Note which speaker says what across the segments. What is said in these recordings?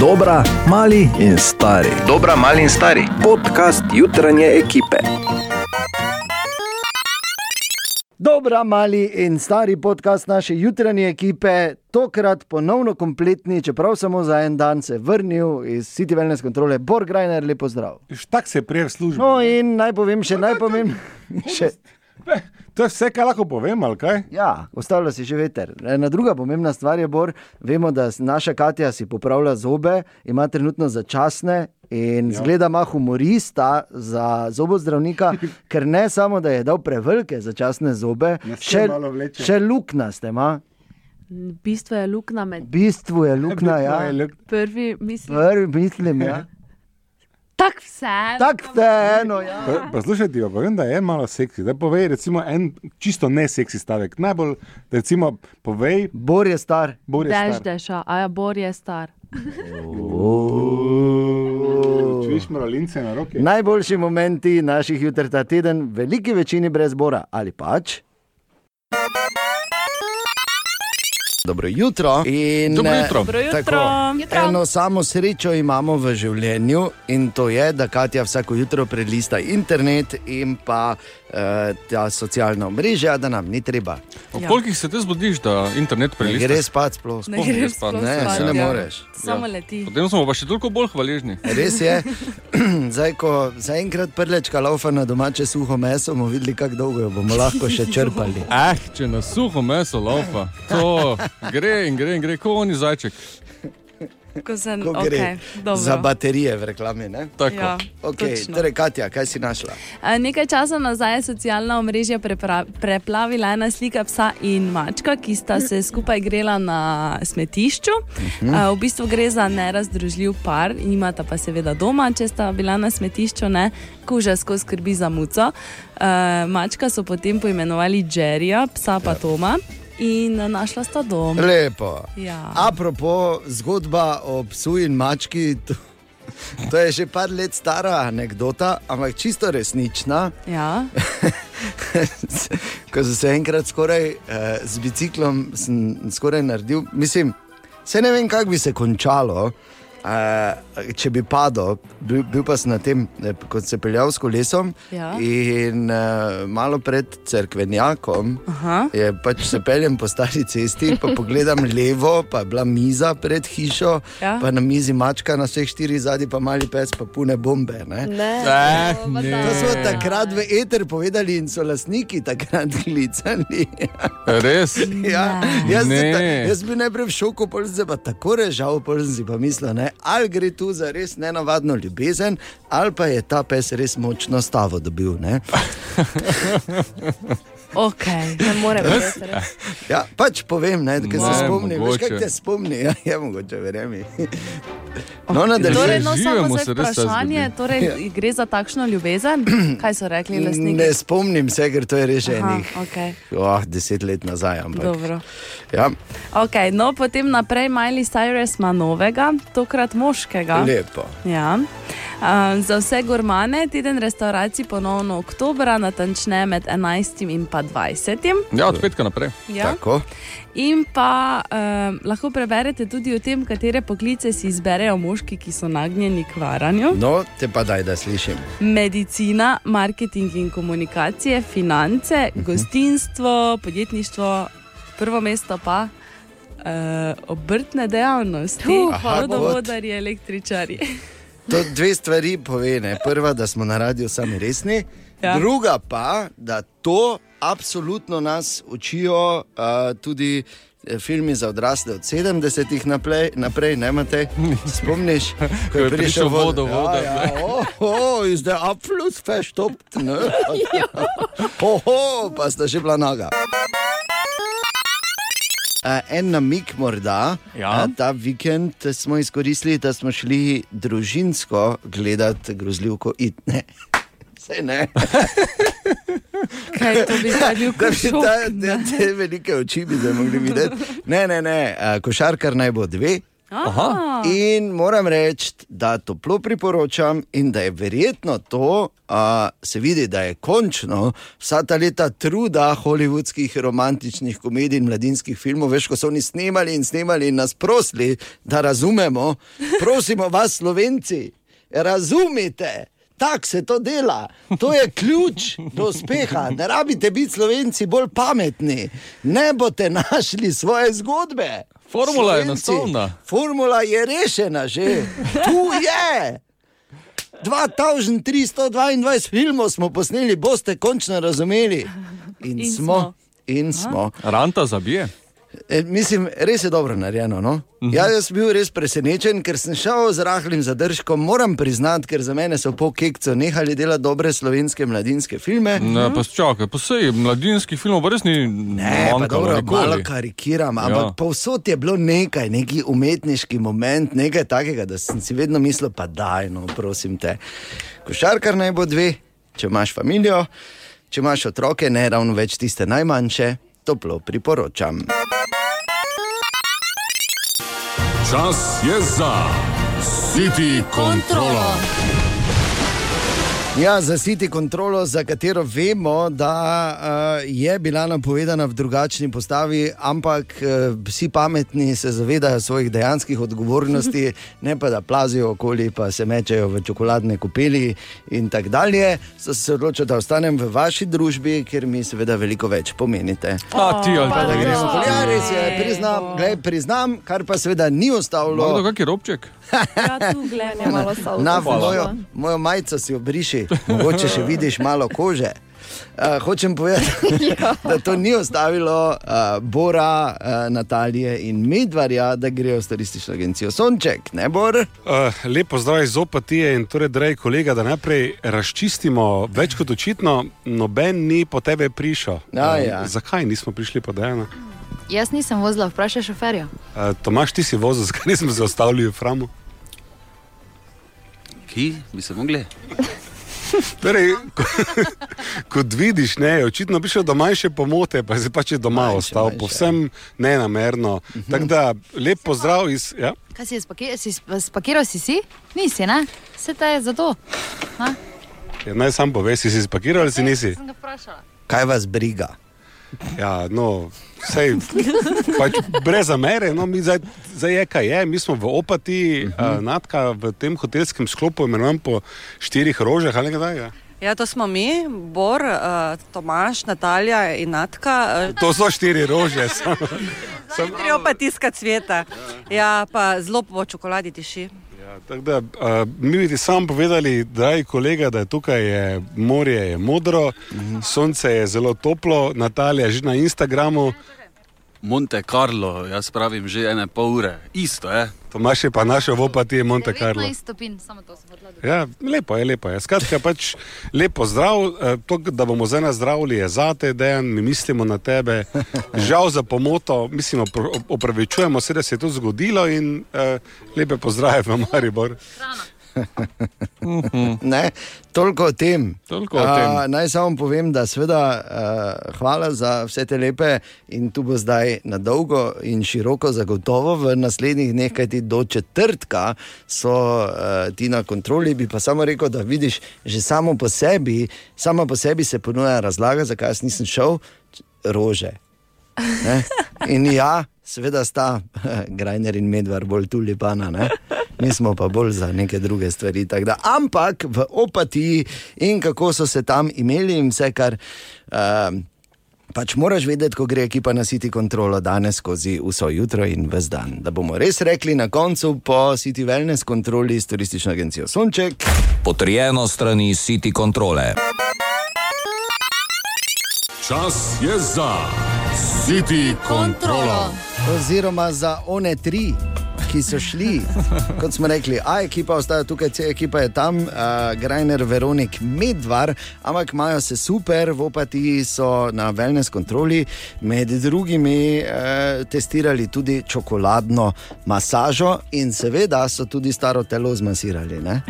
Speaker 1: Dobra, mali in stari.
Speaker 2: Dobra, mali in stari.
Speaker 1: Podcast jutranje ekipe. Dobra, mali in stari podcast naše jutranje ekipe, tokrat ponovno kompletni, čeprav samo za en dan se vrnil iz City Wellness kontrole, Borgrajner, lepo zdrav.
Speaker 3: Štak se prije v službi.
Speaker 1: No in naj povem še najpomembnejše.
Speaker 3: To je vse, kar lahko povem, ali kaj?
Speaker 1: Ja, ostavlja si že veter. Ena druga pomembna stvar je, Bor, vemo, da s- naša Katja si popravlja zobe, ima trenutno začasne in ja. zgleda ima humorista za zobozdravnika, ker ne samo, da je dal prevelike začasne zobe,
Speaker 3: Nas je
Speaker 1: še,
Speaker 3: malo vleče.
Speaker 1: še luknaste ima.
Speaker 4: V bistvu je luknja med
Speaker 1: V bistvu je luknja, ja.
Speaker 3: Moje lep-
Speaker 4: prvi, mislim.
Speaker 1: Prvi mislim, ja.
Speaker 4: Tako vse.
Speaker 1: Tako vseeno, ja.
Speaker 3: Pa- Poslušaj, ti pa povem, da je malo seksi. Da povej, recimo, en čisto ne seksi stavek. Najbolj, recimo, povej,
Speaker 1: Bor je star.
Speaker 3: Bor je
Speaker 4: Dež
Speaker 3: star.
Speaker 4: deša, a ja, Bor je star.
Speaker 3: Čuješ moralince na roke?
Speaker 1: Najboljši momenti naših jutr ta teden, veliki večini brez bora ali pač. Dobro jutro. In, Dobro jutro.
Speaker 4: Dobro jutro. Jutro.
Speaker 1: Eno samo srečo imamo v življenju in to je, da Katja vsako jutro prelista internet in pa eh, ta socialna omrežja, da nam ni treba.
Speaker 5: Ob
Speaker 4: Ja.
Speaker 5: kolikih se te zbudiš, da internet
Speaker 1: Ne
Speaker 5: prelistaš?
Speaker 1: gre spati sploh.
Speaker 5: Ne gre
Speaker 4: greš
Speaker 5: spati.
Speaker 4: sploh
Speaker 1: Ne,
Speaker 4: spat,
Speaker 1: saj ne
Speaker 4: ja.
Speaker 1: moreš.
Speaker 4: Samo
Speaker 5: Ja.
Speaker 4: leti.
Speaker 5: Potem smo pa še toliko bolj hvaležni.
Speaker 1: Res je, zdaj ko zaenkrat prlečka laufa na domače suho meso, bomo videli, kako dolgo jo bomo lahko še črpali.
Speaker 5: Ah, če na suho meso laupa, to gre in gre in gre, kot oni zajček.
Speaker 6: Ko sem,
Speaker 1: Ko gre
Speaker 6: okay, dobro.
Speaker 1: za baterije v reklami. Ne?
Speaker 5: Tako.
Speaker 6: Ja,
Speaker 1: Okay,
Speaker 6: točno.
Speaker 1: torej, Katja, kaj si našla?
Speaker 6: A, Nekaj časa nazaj je socialna omrežja prepra- preplavila ena slika psa in mačka, ki sta se skupaj grela na smetišču.
Speaker 1: Mhm.
Speaker 6: A, V bistvu gre za nerazdružljiv par, imata pa seveda doma, če sta bila na smetišču, ne, kuža skozi skrbi za muco. A, Mačka so potem poimenovali Jerryja, psa pa Toma in našla sta dom.
Speaker 1: Ja. Lepo.
Speaker 6: Ja.
Speaker 1: Apropo zgodba o psu in mački, to, to je že par let stara anekdota, ampak čisto resnična.
Speaker 6: Ja,
Speaker 1: Ko sem se enkrat skoraj eh, z biciklom sem skoraj naredil, mislim, se ne vem, kako bi se končalo. Uh, če bi padel, bil, bil pa sem na tem, eh, kot se peljal s kolesom,
Speaker 6: Ja.
Speaker 1: in uh, malo pred cerkvenjakom
Speaker 6: Aha.
Speaker 1: je pač se peljem po stari cesti, pa pogledam levo, pa je bila miza pred hišo,
Speaker 6: Ja.
Speaker 1: pa na mizi mačka na vseh štirih zadnjih, pa mali pes, pa pune bombe. Ne?
Speaker 5: Eh, ne.
Speaker 1: To smo takrat v eter povedali in so lastniki takrat klicali.
Speaker 5: Eh, Res.
Speaker 1: ja, jaz, ne.
Speaker 5: Ne.
Speaker 1: Ta, jaz bi najprej v šoku, pol sem se pa tako režal, pol sem si pa mislil, ne, ali gre tu za res nenavadno ljubezen, ali pa je ta pes res močno stavo dobil. Ne?
Speaker 6: ok.
Speaker 4: Ne more biti res.
Speaker 1: Ja, pač povem, ne, ker se
Speaker 5: Ne,
Speaker 1: spomnim, veš, kaj
Speaker 5: mogoče.
Speaker 1: te spomni, ja, je mogoče, verjemi. No, nadaljujem.
Speaker 6: Torej, no,
Speaker 5: Živimo
Speaker 6: samo
Speaker 5: se
Speaker 6: zdaj
Speaker 5: res ta
Speaker 6: vprašanje,
Speaker 5: zgodi.
Speaker 6: torej,
Speaker 1: Ja.
Speaker 6: gre za takšno ljubezen? Kaj so rekli lastniki?
Speaker 1: Ne spomnim se, ker to je res že
Speaker 6: Aha,
Speaker 1: enih
Speaker 6: okay.
Speaker 1: oh, deset let nazaj. Ampak,
Speaker 6: Dobro.
Speaker 1: ja,
Speaker 6: Okay, no, potem naprej Miley Cyrus ima novega, tokrat moškega.
Speaker 1: lepo.
Speaker 6: Ja. Um, za vse gurmane teden restauracij ponovno oktobra, natančneje med 11. in pa 20.
Speaker 5: Ja, od petka naprej.
Speaker 6: Ja.
Speaker 1: Tako.
Speaker 6: In pa um, lahko preberete tudi o tem, katere poklice si izberejo moški, ki so nagnjeni k varanju.
Speaker 1: No, te pa daj, da slišim.
Speaker 6: Medicina, marketing in komunikacije, finance,
Speaker 1: Mhm.
Speaker 6: gostinstvo, podjetništvo, prvo mesto pa. Uh, obrtne dejavnosti,
Speaker 1: Aha,
Speaker 6: vodovodarji, električarji.
Speaker 1: To dve stvari pove. Ne? Prva, da smo na radiju sami resni, ja.
Speaker 6: Ja.
Speaker 1: druga pa, da to absolutno nas učijo uh, tudi eh, filmi za odrasle od 70-ih naprej, naprej ne imate. Spomniš, ko je prišel
Speaker 5: prišel
Speaker 1: vodo,
Speaker 5: vodovod,
Speaker 1: Ja, ja, oh, oh, is the absolute fest top. Oho, pa sta že bila naga. Eh, En namik, morda.
Speaker 5: Ja.
Speaker 1: Eh, Ta vikend smo izkoristili, da smo šli družinsko gledati grozljivko itne. Saj ne,
Speaker 6: Kaj to bi zdaj bil
Speaker 1: da bi
Speaker 6: šok?
Speaker 1: ta, te, te velike oči bi zdaj mogli videti. Ne, ne, ne, eh, košarkar naj bo dve,
Speaker 6: Aha.
Speaker 1: In moram reči, da toplo priporočam, in da je verjetno to, a, se vidi, da je končno vsa ta leta truda holivudskih romantičnih komedij in mladinskih filmov, veš, ko so oni snemali in snemali in nas prosili, da razumemo. Prosimo vas, Slovenci, razumite. Tako se to dela, to je ključ do uspeha. Ne rabite biti slovenci bolj pametni, ne boste našli svoje zgodbe.
Speaker 5: Formula je
Speaker 1: Slovenci,
Speaker 5: enostavna.
Speaker 1: Formula je rešena že, tu je. 2322 filmov smo posneli, boste končno razumeli.
Speaker 6: In
Speaker 1: In, in
Speaker 6: smo.
Speaker 1: smo. In smo.
Speaker 5: Ranta zabije.
Speaker 1: E, mislim, res je dobro narejeno. No? Uh -huh. ja, jaz sem bil res presenečen, ker sem šel z rahlim zadržkom. Moram priznati, ker za mene so po kekcu nehali delati dobre slovenske mladinske filme.
Speaker 4: Mhm.
Speaker 5: Ne, pa čakaj, pa sej mladinskih filmov pa res ni
Speaker 1: Ne, pa
Speaker 5: manjkalo
Speaker 1: dobro,
Speaker 5: nikoli.
Speaker 1: malo karikiram, ampak
Speaker 5: Ja.
Speaker 1: ja. povsod je bilo nekaj, neki umetniški moment, nekaj takega, da sem si vedno mislil, pa daj, no, prosim te. Košarkar naj bo dve, če imaš družino, če imaš otroke, ne ravno več tiste najmanjše, toplo priporočam.
Speaker 7: Čas je za City kontrolo.
Speaker 1: Ja, za City kontrolo, za katero vemo, da uh, je bila napovedana v drugačni postavi, ampak uh, vsi pametni se zavedajo svojih dejanskih odgovornosti, ne pa da plazijo okoli, pa se mečejo v čokoladne kopeli in tako dalje. So se odločili, da ostanem v vaši družbi, ker mi seveda veliko več pomenite.
Speaker 5: A ti ali
Speaker 2: Pa
Speaker 5: pa
Speaker 2: da
Speaker 5: da greš.
Speaker 2: gremo.
Speaker 1: Ja, res je, priznam, glej, priznam, kar pa seveda ni
Speaker 5: Malo
Speaker 1: ostalo.
Speaker 5: kak je robček?
Speaker 6: Ja, tu gledam.
Speaker 2: malo salto.
Speaker 1: Na mojo, mojo majico si obriši, mogoče še vidiš malo kože. Uh, hočem povedati, da to ni ostavilo uh, Bora, uh, Natalije in Medvarja, da grejo v turistično agencijo Sonček, ne Bor.
Speaker 3: Uh, lepo zdrav iz opatije in torej, dragi kolega, da najprej razčistimo, več kot očitno, noben ni po tebe prišel.
Speaker 1: Ja,
Speaker 3: Eh,
Speaker 1: ja.
Speaker 3: Zakaj nismo prišli po Dajana?
Speaker 8: Jaz nisem vozila, vprašaj šoferja.
Speaker 3: Uh, Tomaš, ti si vozil, zakaj nismo se ostavili v Framu?
Speaker 9: Ki bi se mogli?
Speaker 3: Torej, ko, kot vidiš, ne, je očitno prišel do manjše pomote, pa se pač je doma
Speaker 1: Manjše,
Speaker 3: manjše, ostal,
Speaker 1: manjše.
Speaker 3: manjše. povsem nenamerno. Uh
Speaker 9: Mhm.
Speaker 3: -huh. Tako da, lep pozdrav iz. Ja?
Speaker 8: Kaj si, je spaki, si sp- spakiral si si? Nisi, ne? Se ta je zato.
Speaker 3: Ja, naj sam poveš, si si spakiral ali si nisi.
Speaker 8: Sem ga vprašala.
Speaker 1: Kaj vas briga?
Speaker 3: Ja, no, sej, pač brez zamere, no, mi zdaj, zdaj je kaj je. Mi smo v opati,
Speaker 1: Mhm.
Speaker 3: uh -huh. uh, natka v tem hotelskem sklopu, imenovan po štirih rožah ali kaj takega.
Speaker 10: Ja, to smo mi, Bor, uh, Tomaš, Natalija in Natka. Uh,
Speaker 3: To so štiri rože. samo.
Speaker 10: Sem trijo pa tiska cveta. Ja, pa zelo po čokoladi tiši.
Speaker 3: Ja, tako da, uh, mi bi ti sam povedali, dragi kolega, da je tukaj je morje je modro,
Speaker 1: Mhm.
Speaker 3: sonce je zelo toplo, Natalija je že na Instagramu,
Speaker 9: Monte Carlo, jaz pravim že ene pol ure, isto je.
Speaker 3: Tomaš je pa našel v opati je Monte Carlo.
Speaker 8: 19 stopinj, samo to sem hodila.
Speaker 3: Ja, lepo je, lepo je. Skratka, pač lepo zdrav. Eh, To, da bomo zdaj nazdravili, je za te, dejan, mi mislimo na tebe. Žal za pomoto, mislim, opr- opravičujemo se, da se je to zgodilo in uh, lepe pozdrave v Maribor.
Speaker 1: Mhm. Ne? Toliko o tem.
Speaker 5: Toliko o tem.
Speaker 1: A, naj samo povem, da seveda uh, hvala za vse te lepe in tu bo zdaj na dolgo in široko, zagotovo v naslednjih dneh, kajti do četrtka so uh, ti na kontroli. Bi pa samo rekel, da vidiš, že samo po sebi, sama po sebi se ponuja razlaga, zakaj jaz nisem šel, Č- rože. Ne? In ja, seveda sta Grajner in Medvard bolj tulipana, ne? mi smo pa bolj za neke druge stvari. tako Da, ampak v opatiji in kako so se tam imeli in vse, kar. Um, Pač moraš vedeti, ko gre ekipa na City kontrolo danes skozi vso jutro in vse dan. Da bomo res rekli na koncu po City Wellness kontroli s turistično agencijo Sonček.
Speaker 11: Potrjeno strani City kontrole.
Speaker 7: Čas je za City kontrolo.
Speaker 1: Oziroma za one tri, ki so šli. Kot smo rekli, A ekipa ostaja tukaj, C ekipa je tam, uh, Grajner, Veronik, Medvar, ampak imajo se super, v opati so na wellness kontroli, med drugimi uh, testirali tudi čokoladno masažo in seveda so tudi staro telo zmasirali. Ne?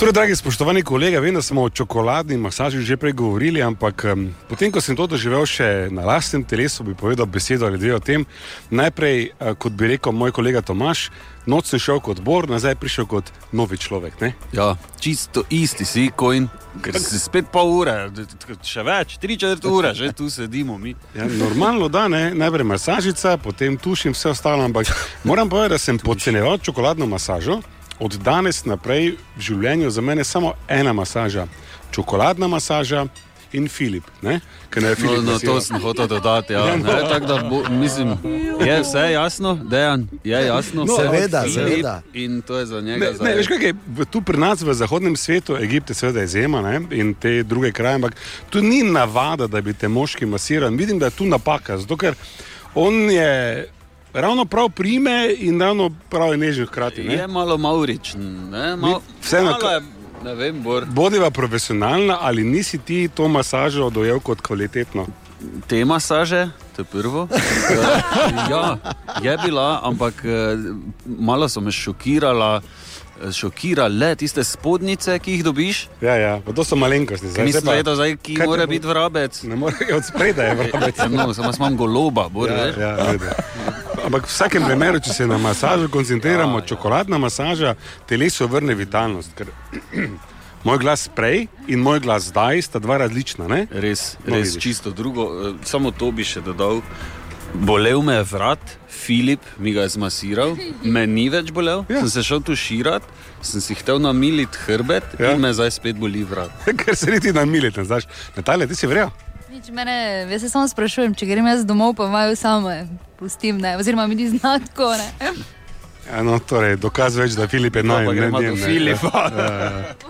Speaker 3: Torej, dragi spoštovani kolega, vem, da smo o čokoladni masaži že prej govorili, ampak um, potem, ko sem to doživel še na lastnem telesu, bi povedal besedo ali dve o tem. Najprej, uh, kot bi rekel moj kolega Tomaš, noč sem šel kot bor, nazaj prišel kot novi človek. Ne?
Speaker 9: Ja, čisto isti si, kojn, ker si spet pol ure, d- d- še več, tri četrt ure, že tu sedimo mi.
Speaker 3: Ja, normalno da, ne? najprej masažica, potem tušim vse ostalo, ampak moram povedati, da sem podceneval čokoladno masažo. Od danes naprej v življenju za mene samo ena masaža, čokoladna masaža in Filip. Ne? Ker ne je
Speaker 9: No,
Speaker 3: Filip
Speaker 9: no,
Speaker 3: vesel.
Speaker 9: to sem hotel dodati. Ja.
Speaker 3: no.
Speaker 9: Ne, tako da bo, mislim, je vse jasno, dejan, je jasno.
Speaker 3: No,
Speaker 9: vse
Speaker 3: seveda,
Speaker 9: Filip
Speaker 3: seveda.
Speaker 9: In to je za njega.
Speaker 3: Ne, ne, veš, kaj je v- tu pri nas v zahodnem svetu, Egipt je seveda izjema ne, in te druge kraje, ampak tu ni navada, da bi te moški masirali. Vidim, da je tu napaka, zato ker on je ravno prav prime in ravno prav je nežen hkrati. Ne?
Speaker 9: Je malo mauričen, ne, mal,
Speaker 3: Mi- vseeno,
Speaker 9: malo je, ne vem, bor.
Speaker 3: Bodiva profesionalna, ali nisi ti to masažo dojel kot kvalitetno?
Speaker 9: Te masaže, to je prvo. Eh, ja, je bila, ampak eh, malo so me šokirala. eh, Šokirale tiste spodnjice, ki jih dobiš.
Speaker 3: Ja, ja, pa to so malenkosti.
Speaker 9: Zdaj, nisem
Speaker 3: pa-
Speaker 9: vedel, zdaj, ki
Speaker 3: kaj te
Speaker 9: mora
Speaker 3: bo-
Speaker 9: biti vrabec.
Speaker 3: Ne more biti od spredaj, vrabec.
Speaker 9: No, samo jaz imam goloba, bor,
Speaker 3: Ja,
Speaker 9: veš.
Speaker 3: ja, vedno. Ampak v vsakem primeru, če se na masažo koncentriramo, ja, čokoladna masaža telesu vrne vitalnost. Ker, moj glas prej in moj glas zdaj sta dva različna. Ne?
Speaker 9: Res,
Speaker 3: No,
Speaker 9: res
Speaker 3: vidiš.
Speaker 9: čisto drugo. Eh, Samo to bi še dodal. Bolel me je vrat, Filip mi ga je zmasiral, me ni več bolel, ja. sem se šel tuširati, sem si hotel namiliti hrbet ja. in me zdaj spet boli vrat.
Speaker 3: Ker se niti namilite, znaš. Natalija, ti si vrel.
Speaker 8: Nič mene, jaz se samo sprašujem, če grem jaz domov, pa imajo samo, eh, pustim, ne, oziroma mi ni znatko, ne.
Speaker 3: Ja, no, torej, dokaz več, da Filip je
Speaker 9: No, pa
Speaker 3: naj.
Speaker 9: gremo do Filipa.
Speaker 3: Ja,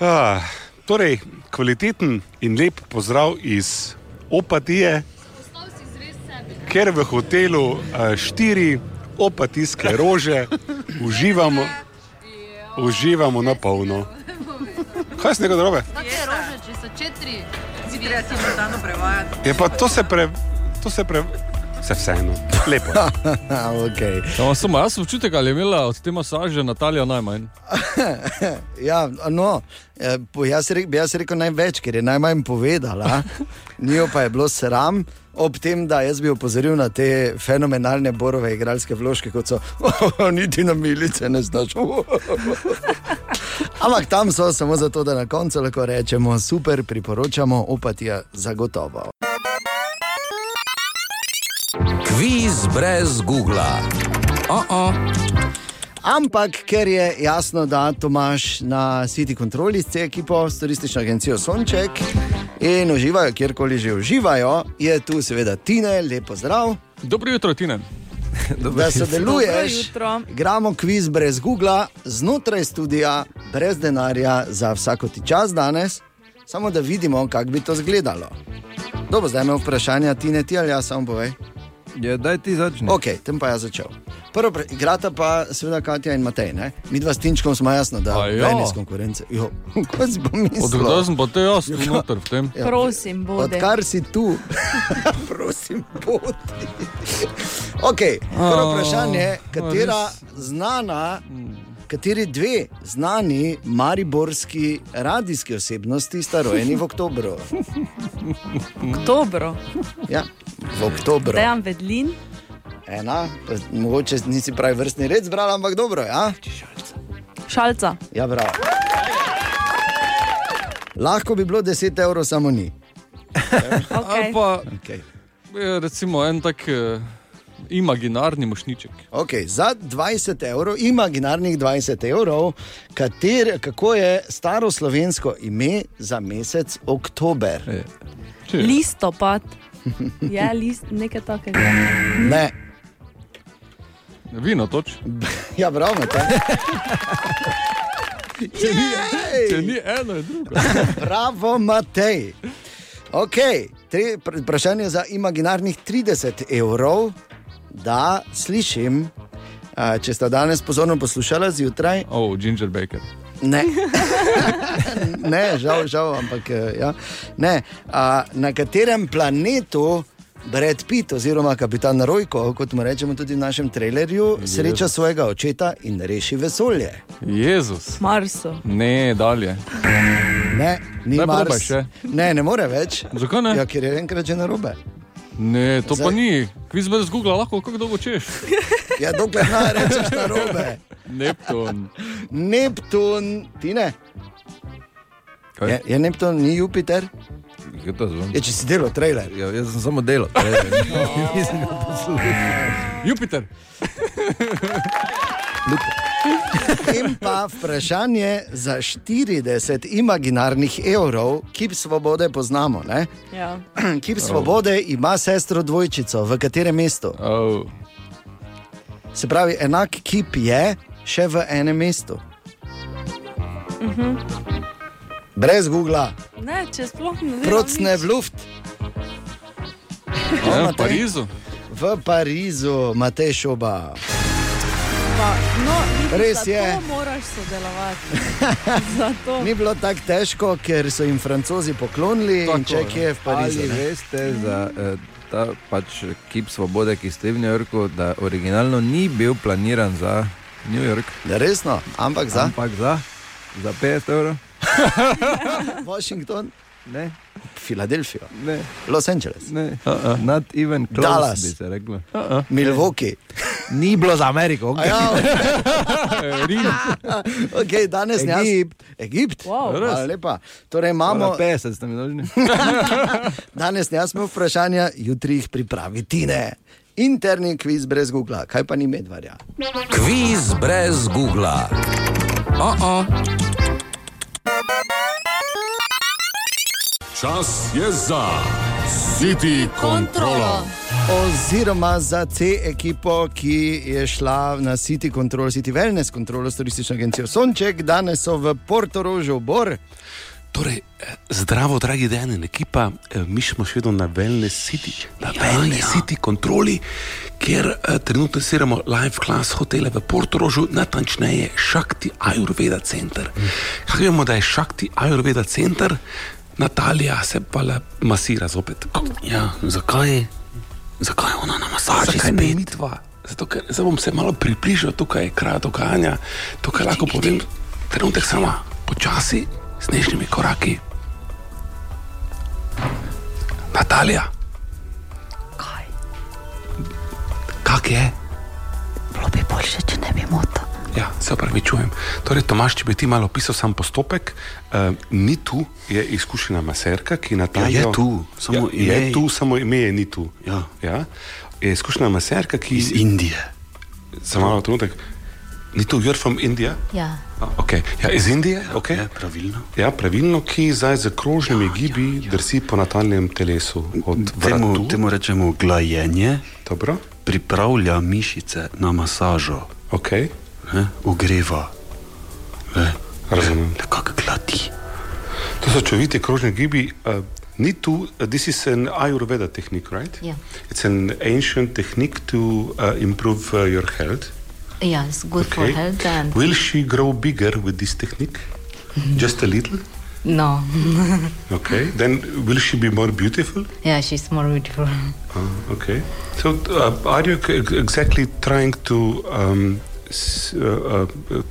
Speaker 3: Ah, torej, kvaliteten in lep pozdrav iz Opatije, ker v hotelu 4 opatijske rože uživamo, uživamo na polno. Kaj je nekaj drobe?
Speaker 8: Kakšne rože, če so četiri?
Speaker 12: Si treba si mortalno prevajati.
Speaker 3: Je pa to se pre... To se pre... Se vseeno, lepo.
Speaker 1: okay.
Speaker 5: Ja, samo jaz sem občutek, ali je imela od te masaže Natalija najmanj.
Speaker 1: Ja, no, eh, po- jaz, rek, bi jaz rekel največ, ker je najmanj povedala. Njo pa je bilo sram. Ob tem, da jaz bi opozoril na te fenomenalne borove igralske vložke, kot so, niti na milice ne znaš. Ampak tam so samo zato, da na koncu lahko rečemo, super, priporočamo, opatija zagotovo.
Speaker 11: Kviz brez Google.
Speaker 1: Ampak, ker je jasno, da Tomaš na City Control s ekipo, s turistično agencijo Sonček in uživajo, kjerkoli že uživajo, je tu seveda Tine, lepo zdrav,
Speaker 5: Dobro jutro, Tine.
Speaker 1: da
Speaker 6: Dobro
Speaker 1: sodeluješ.
Speaker 6: jutro.
Speaker 1: Gramo kviz brez Google, znotraj študija, brez denarja za vsako ti čas danes, samo da vidimo, kako bi to izgledalo. Dobro, zdaj imamo vprašanja, Tine, ti ali jaz sam povej.
Speaker 13: Ja, daj ti začni.
Speaker 1: Ok, tem pa jaz začel. Prvo, pre- igrata pa seveda Katja in Matej. Ne? Mi dva s Tinčkom smo jasno, da
Speaker 5: A
Speaker 1: je
Speaker 5: ja.
Speaker 1: ven iz konkurence. Jo, Kaj si
Speaker 5: Odkdaj
Speaker 1: pomislil?
Speaker 5: sem pa te jaz tu noter v tem?
Speaker 1: Ja.
Speaker 6: Prosim, bodi.
Speaker 1: Odkar si tu, prosim, poti. okay, prvo
Speaker 5: Oh,
Speaker 1: vprašanje, katera znana, kateri dve znani mariborski radijski osebnosti sta rojeni v oktobru?
Speaker 6: Dobro,
Speaker 1: Ja, v oktobru.
Speaker 6: dejan vedlin.
Speaker 1: Ena, pa mogoče nisi pravi vrstni red zbrala, ampak dobro. Ja?
Speaker 6: Šalca,
Speaker 1: Ja, bravo. Lahko bi bilo 10 evrov, samo ni.
Speaker 5: Ali
Speaker 6: okay.
Speaker 5: pa
Speaker 1: Okay.
Speaker 5: je recimo en tak eh, imaginarni mošniček.
Speaker 1: Okay, za 20 evrov, imaginarnih 20 evrov, kater, kako je staro slovensko ime za mesec oktober?
Speaker 6: listopad. Je ja, list, nekaj takega.
Speaker 1: Ne,
Speaker 5: Vino toč.
Speaker 1: ja, bravo, te.
Speaker 5: Če ni eno, je drugo.
Speaker 1: Bravo, Matej. Okay, tri, pr- vprašanje za imaginarnih 30 evrov, da slišim. A, Če ste danes pozorno poslušali zjutraj,
Speaker 5: O, oh, Ginger Baker.
Speaker 1: Ne. ne, žal, žal, ampak eh, ja. ne. A, na katerem planetu Brad Pitt, oziroma kapitan Rojko, kot mu rečemo tudi v našem trailerju,
Speaker 5: Jezus.
Speaker 1: sreča svojega očeta in reši vesolje.
Speaker 5: Jezus.
Speaker 6: Marso.
Speaker 5: Ne, dalje.
Speaker 1: Ne, ni
Speaker 5: Daj, probaj
Speaker 1: Mars.
Speaker 5: še.
Speaker 1: Ne, ne more več.
Speaker 5: Zakaj ne?
Speaker 1: Ja, ker je enkrat že na robe.
Speaker 5: Ne, to
Speaker 1: Zdaj-
Speaker 5: pa ni. Kviz brez Google, lahko kako dolgo češ.
Speaker 1: Ja, dokler ne rečeš na robe.
Speaker 5: Neptun.
Speaker 1: Neptun, ti ne.
Speaker 2: Kaj?
Speaker 1: Je, je Neptun, ni Jupiter?
Speaker 2: Je to zvon?
Speaker 1: Je, če si delal trailer.
Speaker 2: Ja, jaz sem samo delal. trailer. Nisem ga poslušal.
Speaker 5: Ja. Jupiter.
Speaker 1: In pa vprašanje za 40 imaginarnih evrov, ki svobode poznamo. Ne?
Speaker 6: Ja.
Speaker 1: Kip svobode ima sestro dvojčico, v katerem mestu?
Speaker 5: Oh.
Speaker 1: Se pravi, enak kip je še v enem mestu.
Speaker 6: Mhm.
Speaker 1: Brez Google,
Speaker 6: Ne, če sploh ne vem.
Speaker 1: procne v luft.
Speaker 5: Ja, v Parizu.
Speaker 1: V Parizu, Matej Šoba.
Speaker 6: Pa, no, vidiš,
Speaker 1: Res
Speaker 6: zato
Speaker 1: je.
Speaker 6: moraš sodelovati.
Speaker 1: Ni bilo tako težko, ker so jim francozi poklonili in ček je v Parizu.
Speaker 2: Ali
Speaker 1: ne?
Speaker 2: veste za eh, ta pač kip svobode, ki ste v New Yorku, da originalno ni bil planiran za New York?
Speaker 1: Da resno, ampak za?
Speaker 2: Ampak za, za 50 evrov.
Speaker 1: Washington,
Speaker 2: ne.
Speaker 1: Filadelfijo,
Speaker 2: ne.
Speaker 1: Los Angeles,
Speaker 2: Ne, not even close,
Speaker 1: Dallas.
Speaker 2: bi se reklo.
Speaker 1: Milwaukee.
Speaker 2: Ni bilo za Ameriko. Okay.
Speaker 1: Ja,
Speaker 5: Rim.
Speaker 1: okay, danes ne
Speaker 2: Egipt.
Speaker 1: Egipt.
Speaker 6: Wow.
Speaker 2: Res?
Speaker 1: Hvala lepa. Torej imamo,
Speaker 2: Imamo 50, ste mi dolžni.
Speaker 1: danes ne smo vprašanja, jutri jih pripravi Tine. Interni kviz brez Google, kaj pa ni medvarja.
Speaker 11: Kviz brez Google.
Speaker 7: Oh -oh. Čas je za City kontrolo.
Speaker 1: Oziroma za C ekipo, ki je šla na City Control, City Wellness Control s turistično agencijo Sonček, danes so v Portorožju, Bor.
Speaker 3: Torej, eh, zdravo, dragi dan in ekipa, Eh, mi smo še vedno na Wellness City, na ja, Wellness ja. City kontroli, kjer eh, trenutno seramo live class hotele v Portorožu, natančneje Šakti Ayurveda center. Kaj vemo, da je Šakti Ayurveda center, Natalija se pa le masira zopet.
Speaker 14: Ja, zakaj? Zakaj je ona na masaži
Speaker 3: Zakaj ne
Speaker 14: spet?
Speaker 3: midva? Zato, ker zdaj bom se malo približal tukaj, kraj dogajanja. Tukaj lahko povem, trenutek sama, počasi, s nežnimi koraki. Natalija. Kaj? Kak je?
Speaker 15: Bilo bi boljše, če ne bi motil.
Speaker 3: Ja, se upravičujem. Torej, Tomaš, če bi ti malo opisal sam postopek, uh, ni tu, je izkušena maserka, ki Natalijo...
Speaker 14: Ja, je tu, samo
Speaker 3: ja,
Speaker 14: ime
Speaker 3: je
Speaker 14: je-
Speaker 3: tu, samo ime je ni tu.
Speaker 14: Ja.
Speaker 3: Ja? Je izkušena maserka, ki...
Speaker 14: Iz Indije.
Speaker 3: Za malo trenutek. Ni tu, you're from India?
Speaker 15: Ja.
Speaker 3: A, Okay. Ja, iz Indije, okay.
Speaker 14: Ja, pravilno.
Speaker 3: ja, pravilno, ki zdaj z krožnimi ja, gibi ja, ja. drsi po natalnem telesu. Od
Speaker 14: Temu,
Speaker 3: vratu.
Speaker 14: temu rečemo glajenje,
Speaker 3: Dobro,
Speaker 14: pripravlja mišice na masažo,
Speaker 3: okay.
Speaker 14: ne? ogreva. Ne?
Speaker 3: razumem.
Speaker 14: Nekako gladi.
Speaker 3: To so čoviti krožni gibi. Uh, ni tu, uh, this is an Ayurveda technique, right?
Speaker 15: Ja.
Speaker 3: It's an ancient technique to uh, improve uh, your health.
Speaker 15: Ja, it's good for
Speaker 3: Okay.
Speaker 15: health and
Speaker 3: Will she grow bigger with this technique?
Speaker 14: Mm-hmm.
Speaker 3: Just a little?
Speaker 15: no.
Speaker 3: Okay. Then will she be more beautiful?
Speaker 15: yeah, she's more beautiful.
Speaker 3: Ah, okay. So, uh, are you c- exactly trying to um, s- uh, uh,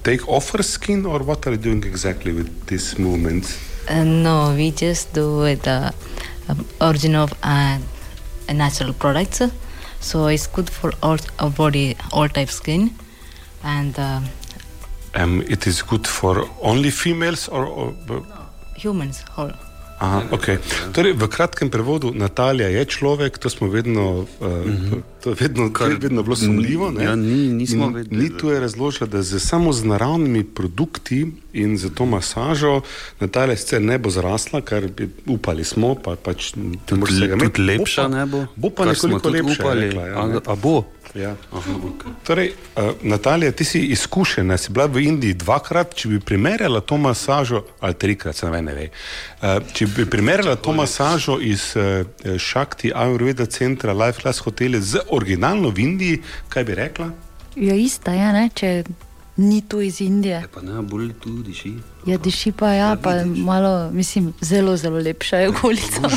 Speaker 3: take off her skin, or what are you doing exactly with this movement?
Speaker 15: Uh, no, we just do with uh, um, origin of uh, natural products, so it's good for all our body, all type skin, and uh,
Speaker 3: Um, it is good for only females, or, or
Speaker 15: humans whole.
Speaker 3: Aha, okay. torej, v kratkem prevodu, Natalija je človek, to smo vedno, uh, to je vedno, Kar, vedno bilo sumljivo. ne.
Speaker 14: Mhm. ja, ni- nismo
Speaker 3: In
Speaker 14: vedeli,
Speaker 3: Ni
Speaker 14: da-
Speaker 3: tu je razložila, da z, samo z naravnimi produkti in za to masažo Natalija sicer ne bo zrasla, kar bi upali smo, pa pač ne moreš
Speaker 14: le-
Speaker 3: tega imeti.
Speaker 14: tudi
Speaker 3: Bo
Speaker 14: lepša
Speaker 3: pa-
Speaker 14: ne bo,
Speaker 3: Bo pa
Speaker 14: kar smo
Speaker 3: nekoliko
Speaker 14: tudi
Speaker 3: lepša, je
Speaker 14: upali.
Speaker 3: rekla, ja,
Speaker 14: A-
Speaker 3: ne.
Speaker 14: a bo?
Speaker 3: Ja. Torej, uh, Natalija, ti si izkušena, si bila v Indiji dvakrat. Če bi primerjala to masažo, ali trikrat, se ne, ne ve. Uh, če bi primerjala to masažo iz uh, Šakti Ayurveda centra Life Class Hotel z originalno v Indiji, kaj bi rekla?
Speaker 15: Ja, ista je, ne? če
Speaker 8: ni tu iz Indije.
Speaker 16: Pa ne, bolj tu diši.
Speaker 8: Ja, diši pa ja, pa malo, mislim, zelo, zelo lepša je okolica.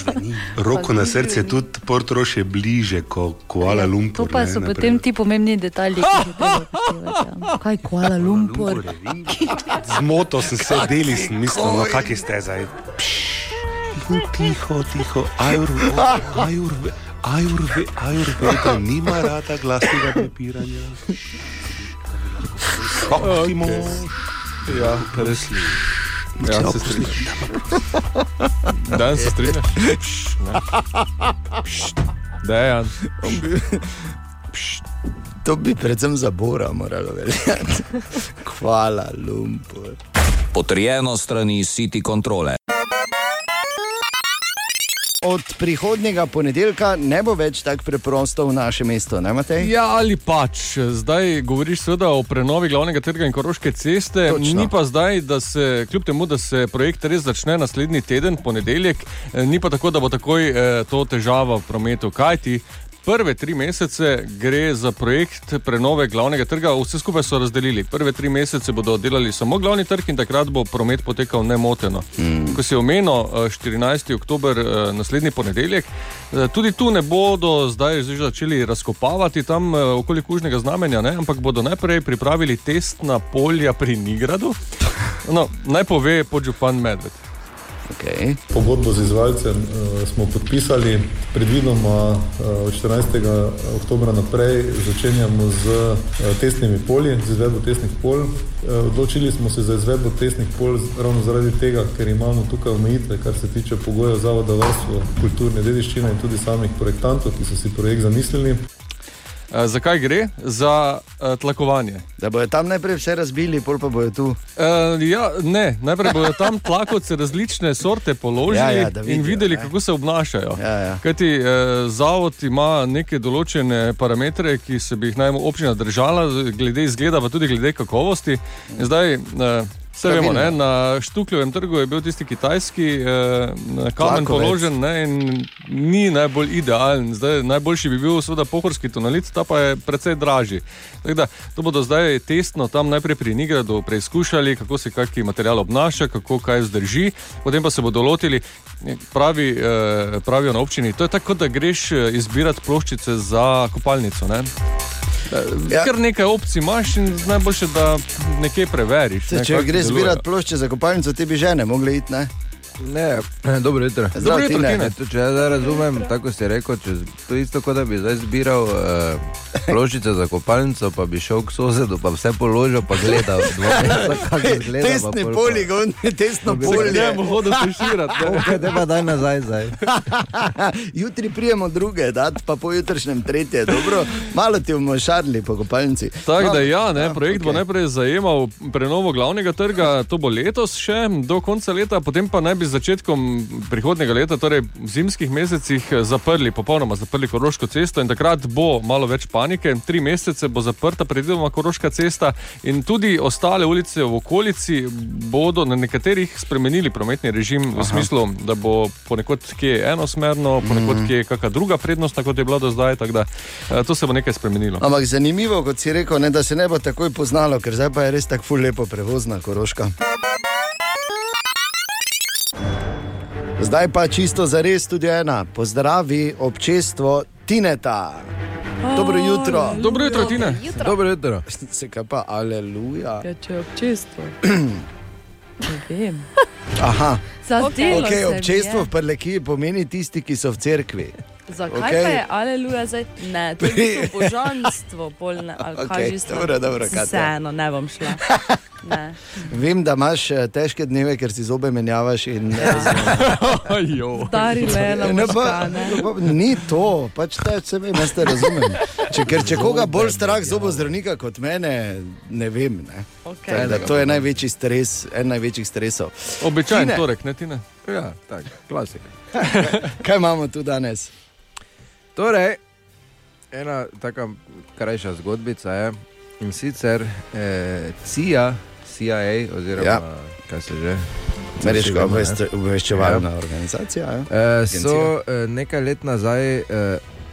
Speaker 3: Roko na srce, tudi Portoroš je bliže kot Kuala
Speaker 8: Ja, To
Speaker 3: Lumpur.
Speaker 8: pa so
Speaker 3: ne,
Speaker 8: potem ti pomembni detajli, ki jih je treba upoštevati. ja. Kaj, Kuala Lumpur?
Speaker 3: Zmoto sem se deli, sem mislil, no kaki ste zdaj. Tiho, tiho, ajur, ajur, ajur, ajur, ajur, nima rada glasnega prepiranja. Ti mož.
Speaker 5: Ja, res. Ja, se strinjam. Danes se strinjam.
Speaker 15: Dejan. To bi predvsem zabora moralo veljati. Hvala, Lumpur.
Speaker 11: Potrjeno strani City kontrole.
Speaker 1: Od prihodnjega ponedeljka ne bo več tako preprosto v našem mestu, ne Matej?
Speaker 5: Ja, ali pač. Zdaj govoriš seveda o prenovi glavnega trga in Koroške ceste.
Speaker 1: Točno.
Speaker 5: Ni pa zdaj, da se, kljub temu, da se projekt res začne naslednji teden, ponedeljek, eh, ni pa tako, da bo takoj eh, to težava v prometu. Kaj ti? Prve tri mesece gre za projekt prenove glavnega trga, vse skupaj so razdelili. Prve tri mesece bodo delali samo glavni trg in takrat bo promet potekal nemoteno. Mm. Ko si omenil eh, 14. oktober, eh, naslednji ponedeljek, eh, tudi tu ne bodo zdaj že začeli razkopavati tam eh, okoli kužnega znamenja, ne? ampak bodo najprej pripravili testna polja pri Nigradu. No, naj pove podžupan Medved.
Speaker 1: Okay.
Speaker 17: Pogodbo z izvajalcem eh, smo podpisali, predvidoma eh, od 14. oktobra naprej začenjamo z eh, testnimi polji, z izvedbo testnih polj. Eh, odločili smo se za izvedbo testnih polj z- ravno zaradi tega, ker imamo tukaj omejitve, kar se tiče pogojev zavoda varstvo kulturne dediščine in tudi samih projektantov, ki so si projekt zamislili.
Speaker 5: Eh, Zakaj gre? Za eh, tlakovanje.
Speaker 1: Da bojo tam najprej vse razbili, pol pa bojo tu.
Speaker 5: Uh, ja, ne, najprej bodo tam tlakovce različne sorte položili
Speaker 1: Ja,
Speaker 5: ja,
Speaker 1: ja,
Speaker 5: ja,
Speaker 1: da
Speaker 5: vidijo, in videli, ne. kako se obnašajo. Ja, ja. Kajti uh, zavod ima neke določene parametre, ki se bi jih naj občina držala, z- glede izgleda, pa tudi glede kakovosti. In zdaj, uh, vse vemo, ne,
Speaker 18: Pravilno.
Speaker 5: na Štukljevem trgu je bil tisti kitajski uh, kamen
Speaker 18: Tlakovec.
Speaker 5: položen ne, in ni najbolj idealen. Zdaj, najboljši bi bil seveda pohorski tonalit, ta pa je precej dražji. Tako Da, to bodo zdaj testno tam najprej pri Nigradu preizkušali, kako se kakšen material obnaša, kako kaj zdrži, potem pa se bodo lotili. Pravi, eh, pravijo na občini, to je tako, kot da greš eh, izbirati ploščice za kopalnico. Ne? Ja. Ker nekaj opcij imaš, in najboljše, da nekaj preveriš.
Speaker 1: Se,
Speaker 5: ne,
Speaker 1: če
Speaker 5: kako
Speaker 1: greš
Speaker 5: delujejo.
Speaker 1: zbirati plošče za kopalnico, ti bi že ne mogli iti. Ne?
Speaker 2: Ne, dobro jutro.
Speaker 1: Zdravo, Dobro jutro, Tine. Tine.
Speaker 2: Če, če jaz zdaj razumem, tako kot si rekel, če, to je isto kot da bi zdaj zbiral uh, ploščice za kopalnico, pa bi šel k sosedu, pa vse položil, pa gledal. Dva meseca, kako izgleda, pa
Speaker 1: Testni
Speaker 2: pol pa-
Speaker 1: poligon, testno
Speaker 2: Bi rekel,
Speaker 1: polje.
Speaker 2: "Ne bom hodil tuširat, ne." Ok, daj pa daj nazaj zdaj.
Speaker 1: Jutri prijemo druge, dat, pa pojutrišnjem tretje, dobro. Malo ti bomo šarli po kopalnici.
Speaker 5: Tako
Speaker 1: No,
Speaker 5: da, ja, ne,
Speaker 1: ja,
Speaker 5: projekt okay. bo najprej zajemal prenovo glavnega trga, to bo letos še do konca leta, potem pa naj bi z začetkom prihodnega leta, torej v zimskih mesecih, zaprli, popolnoma zaprli Koroško cesto in takrat bo malo več panike. Tri mesece bo zaprta predvidoma Koroška cesta in tudi ostale ulice v okolici bodo na nekaterih spremenili prometni režim v
Speaker 18: Aha.
Speaker 5: smislu, da bo ponekod kje enosmerno, ponekod
Speaker 1: Mhm.
Speaker 5: kje kakšna druga prednostna, kot je bila do zdaj, tako da eh, to se bo nekaj spremenilo.
Speaker 1: Ampak zanimivo, kot si rekel, ne, da se ne bo takoj poznalo, ker zdaj pa je res tako ful lepo prevozna koroška. Zdaj pa čisto za res tudi ena. Pozdravi občestvo Tineta. Dobro jutro.
Speaker 5: Dobro jutro, Tine.
Speaker 2: Dobro jutro.
Speaker 1: Se kaj pa, aleluja.
Speaker 6: Ja, če je občestvo. Ne vem.
Speaker 1: Aha,
Speaker 6: Zadelo se mi
Speaker 1: okay,
Speaker 6: je.
Speaker 1: občestvo v Prleki pomeni tisti, ki so v cerkvi.
Speaker 6: Zakaj
Speaker 1: Okej.
Speaker 6: okay. pa je aleluja zdaj? Ne, to je
Speaker 1: Pri-
Speaker 6: bilo božanstvo, polne, ali okay,
Speaker 1: Okej,
Speaker 6: kaj že stvar.
Speaker 1: dobro, dobro, Katja.
Speaker 6: Vseeno, ne bom šla. Ne.
Speaker 1: Vem, da imaš eh, težke dneve, ker si zobe menjavaš. In,
Speaker 6: Dari le na
Speaker 1: Ne, pa,
Speaker 6: možgane.
Speaker 1: pa, ni to, pač te, se vem, jaz te razumem. Če, ker če koga bolj strah zobozdravnika kot mene, ne vem. Ne.
Speaker 6: Okay.
Speaker 1: Tako Da, to je največji stres, en največjih stresov.
Speaker 5: Običajen
Speaker 1: Tine,
Speaker 5: torek, ne Tine?
Speaker 2: Ja, tako, klasik.
Speaker 1: Kaj imamo tu danes?
Speaker 2: Torej, ena tako krajša zgodbica je in sicer eh, CIA, CIA, oziroma
Speaker 1: Ja.
Speaker 2: ja. kaj se že. Vsi
Speaker 1: Ameriška
Speaker 2: vemo, ne?
Speaker 1: obvest- obveščevalna
Speaker 2: Ja.
Speaker 1: organizacija. ja.
Speaker 2: Eh,
Speaker 1: Agencija.
Speaker 2: so eh, nekaj let nazaj, eh,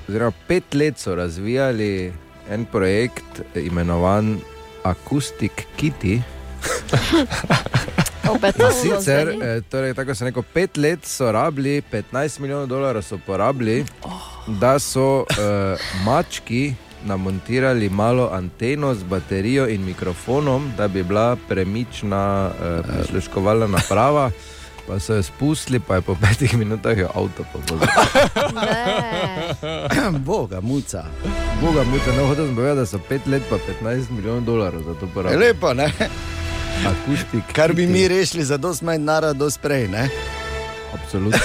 Speaker 2: oziroma pet let so razvijali en projekt eh, imenovan Acoustic Kitty.
Speaker 8: Opet
Speaker 2: In sicer, eh, torej, tako kot sem rekel, pet let so rabili, 15 milijonov dolarjev so porabili, da so eh, mački namontirali malo anteno z baterijo in mikrofonom, da bi bila premična eh, prisluškovalna naprava. Pa so jo spustili, pa je po petih minutah jo avto povozil.
Speaker 1: Boga, muca.
Speaker 2: Boga, muca, ne hočem povedati, da so pet let pa 15 milijonov dolarjev za to porabili.
Speaker 1: E, Lepo, ne?
Speaker 2: Akustik.
Speaker 1: Kar bi mi rešili za dosti manj narod, dosti prej. Ne?
Speaker 2: Absolutno.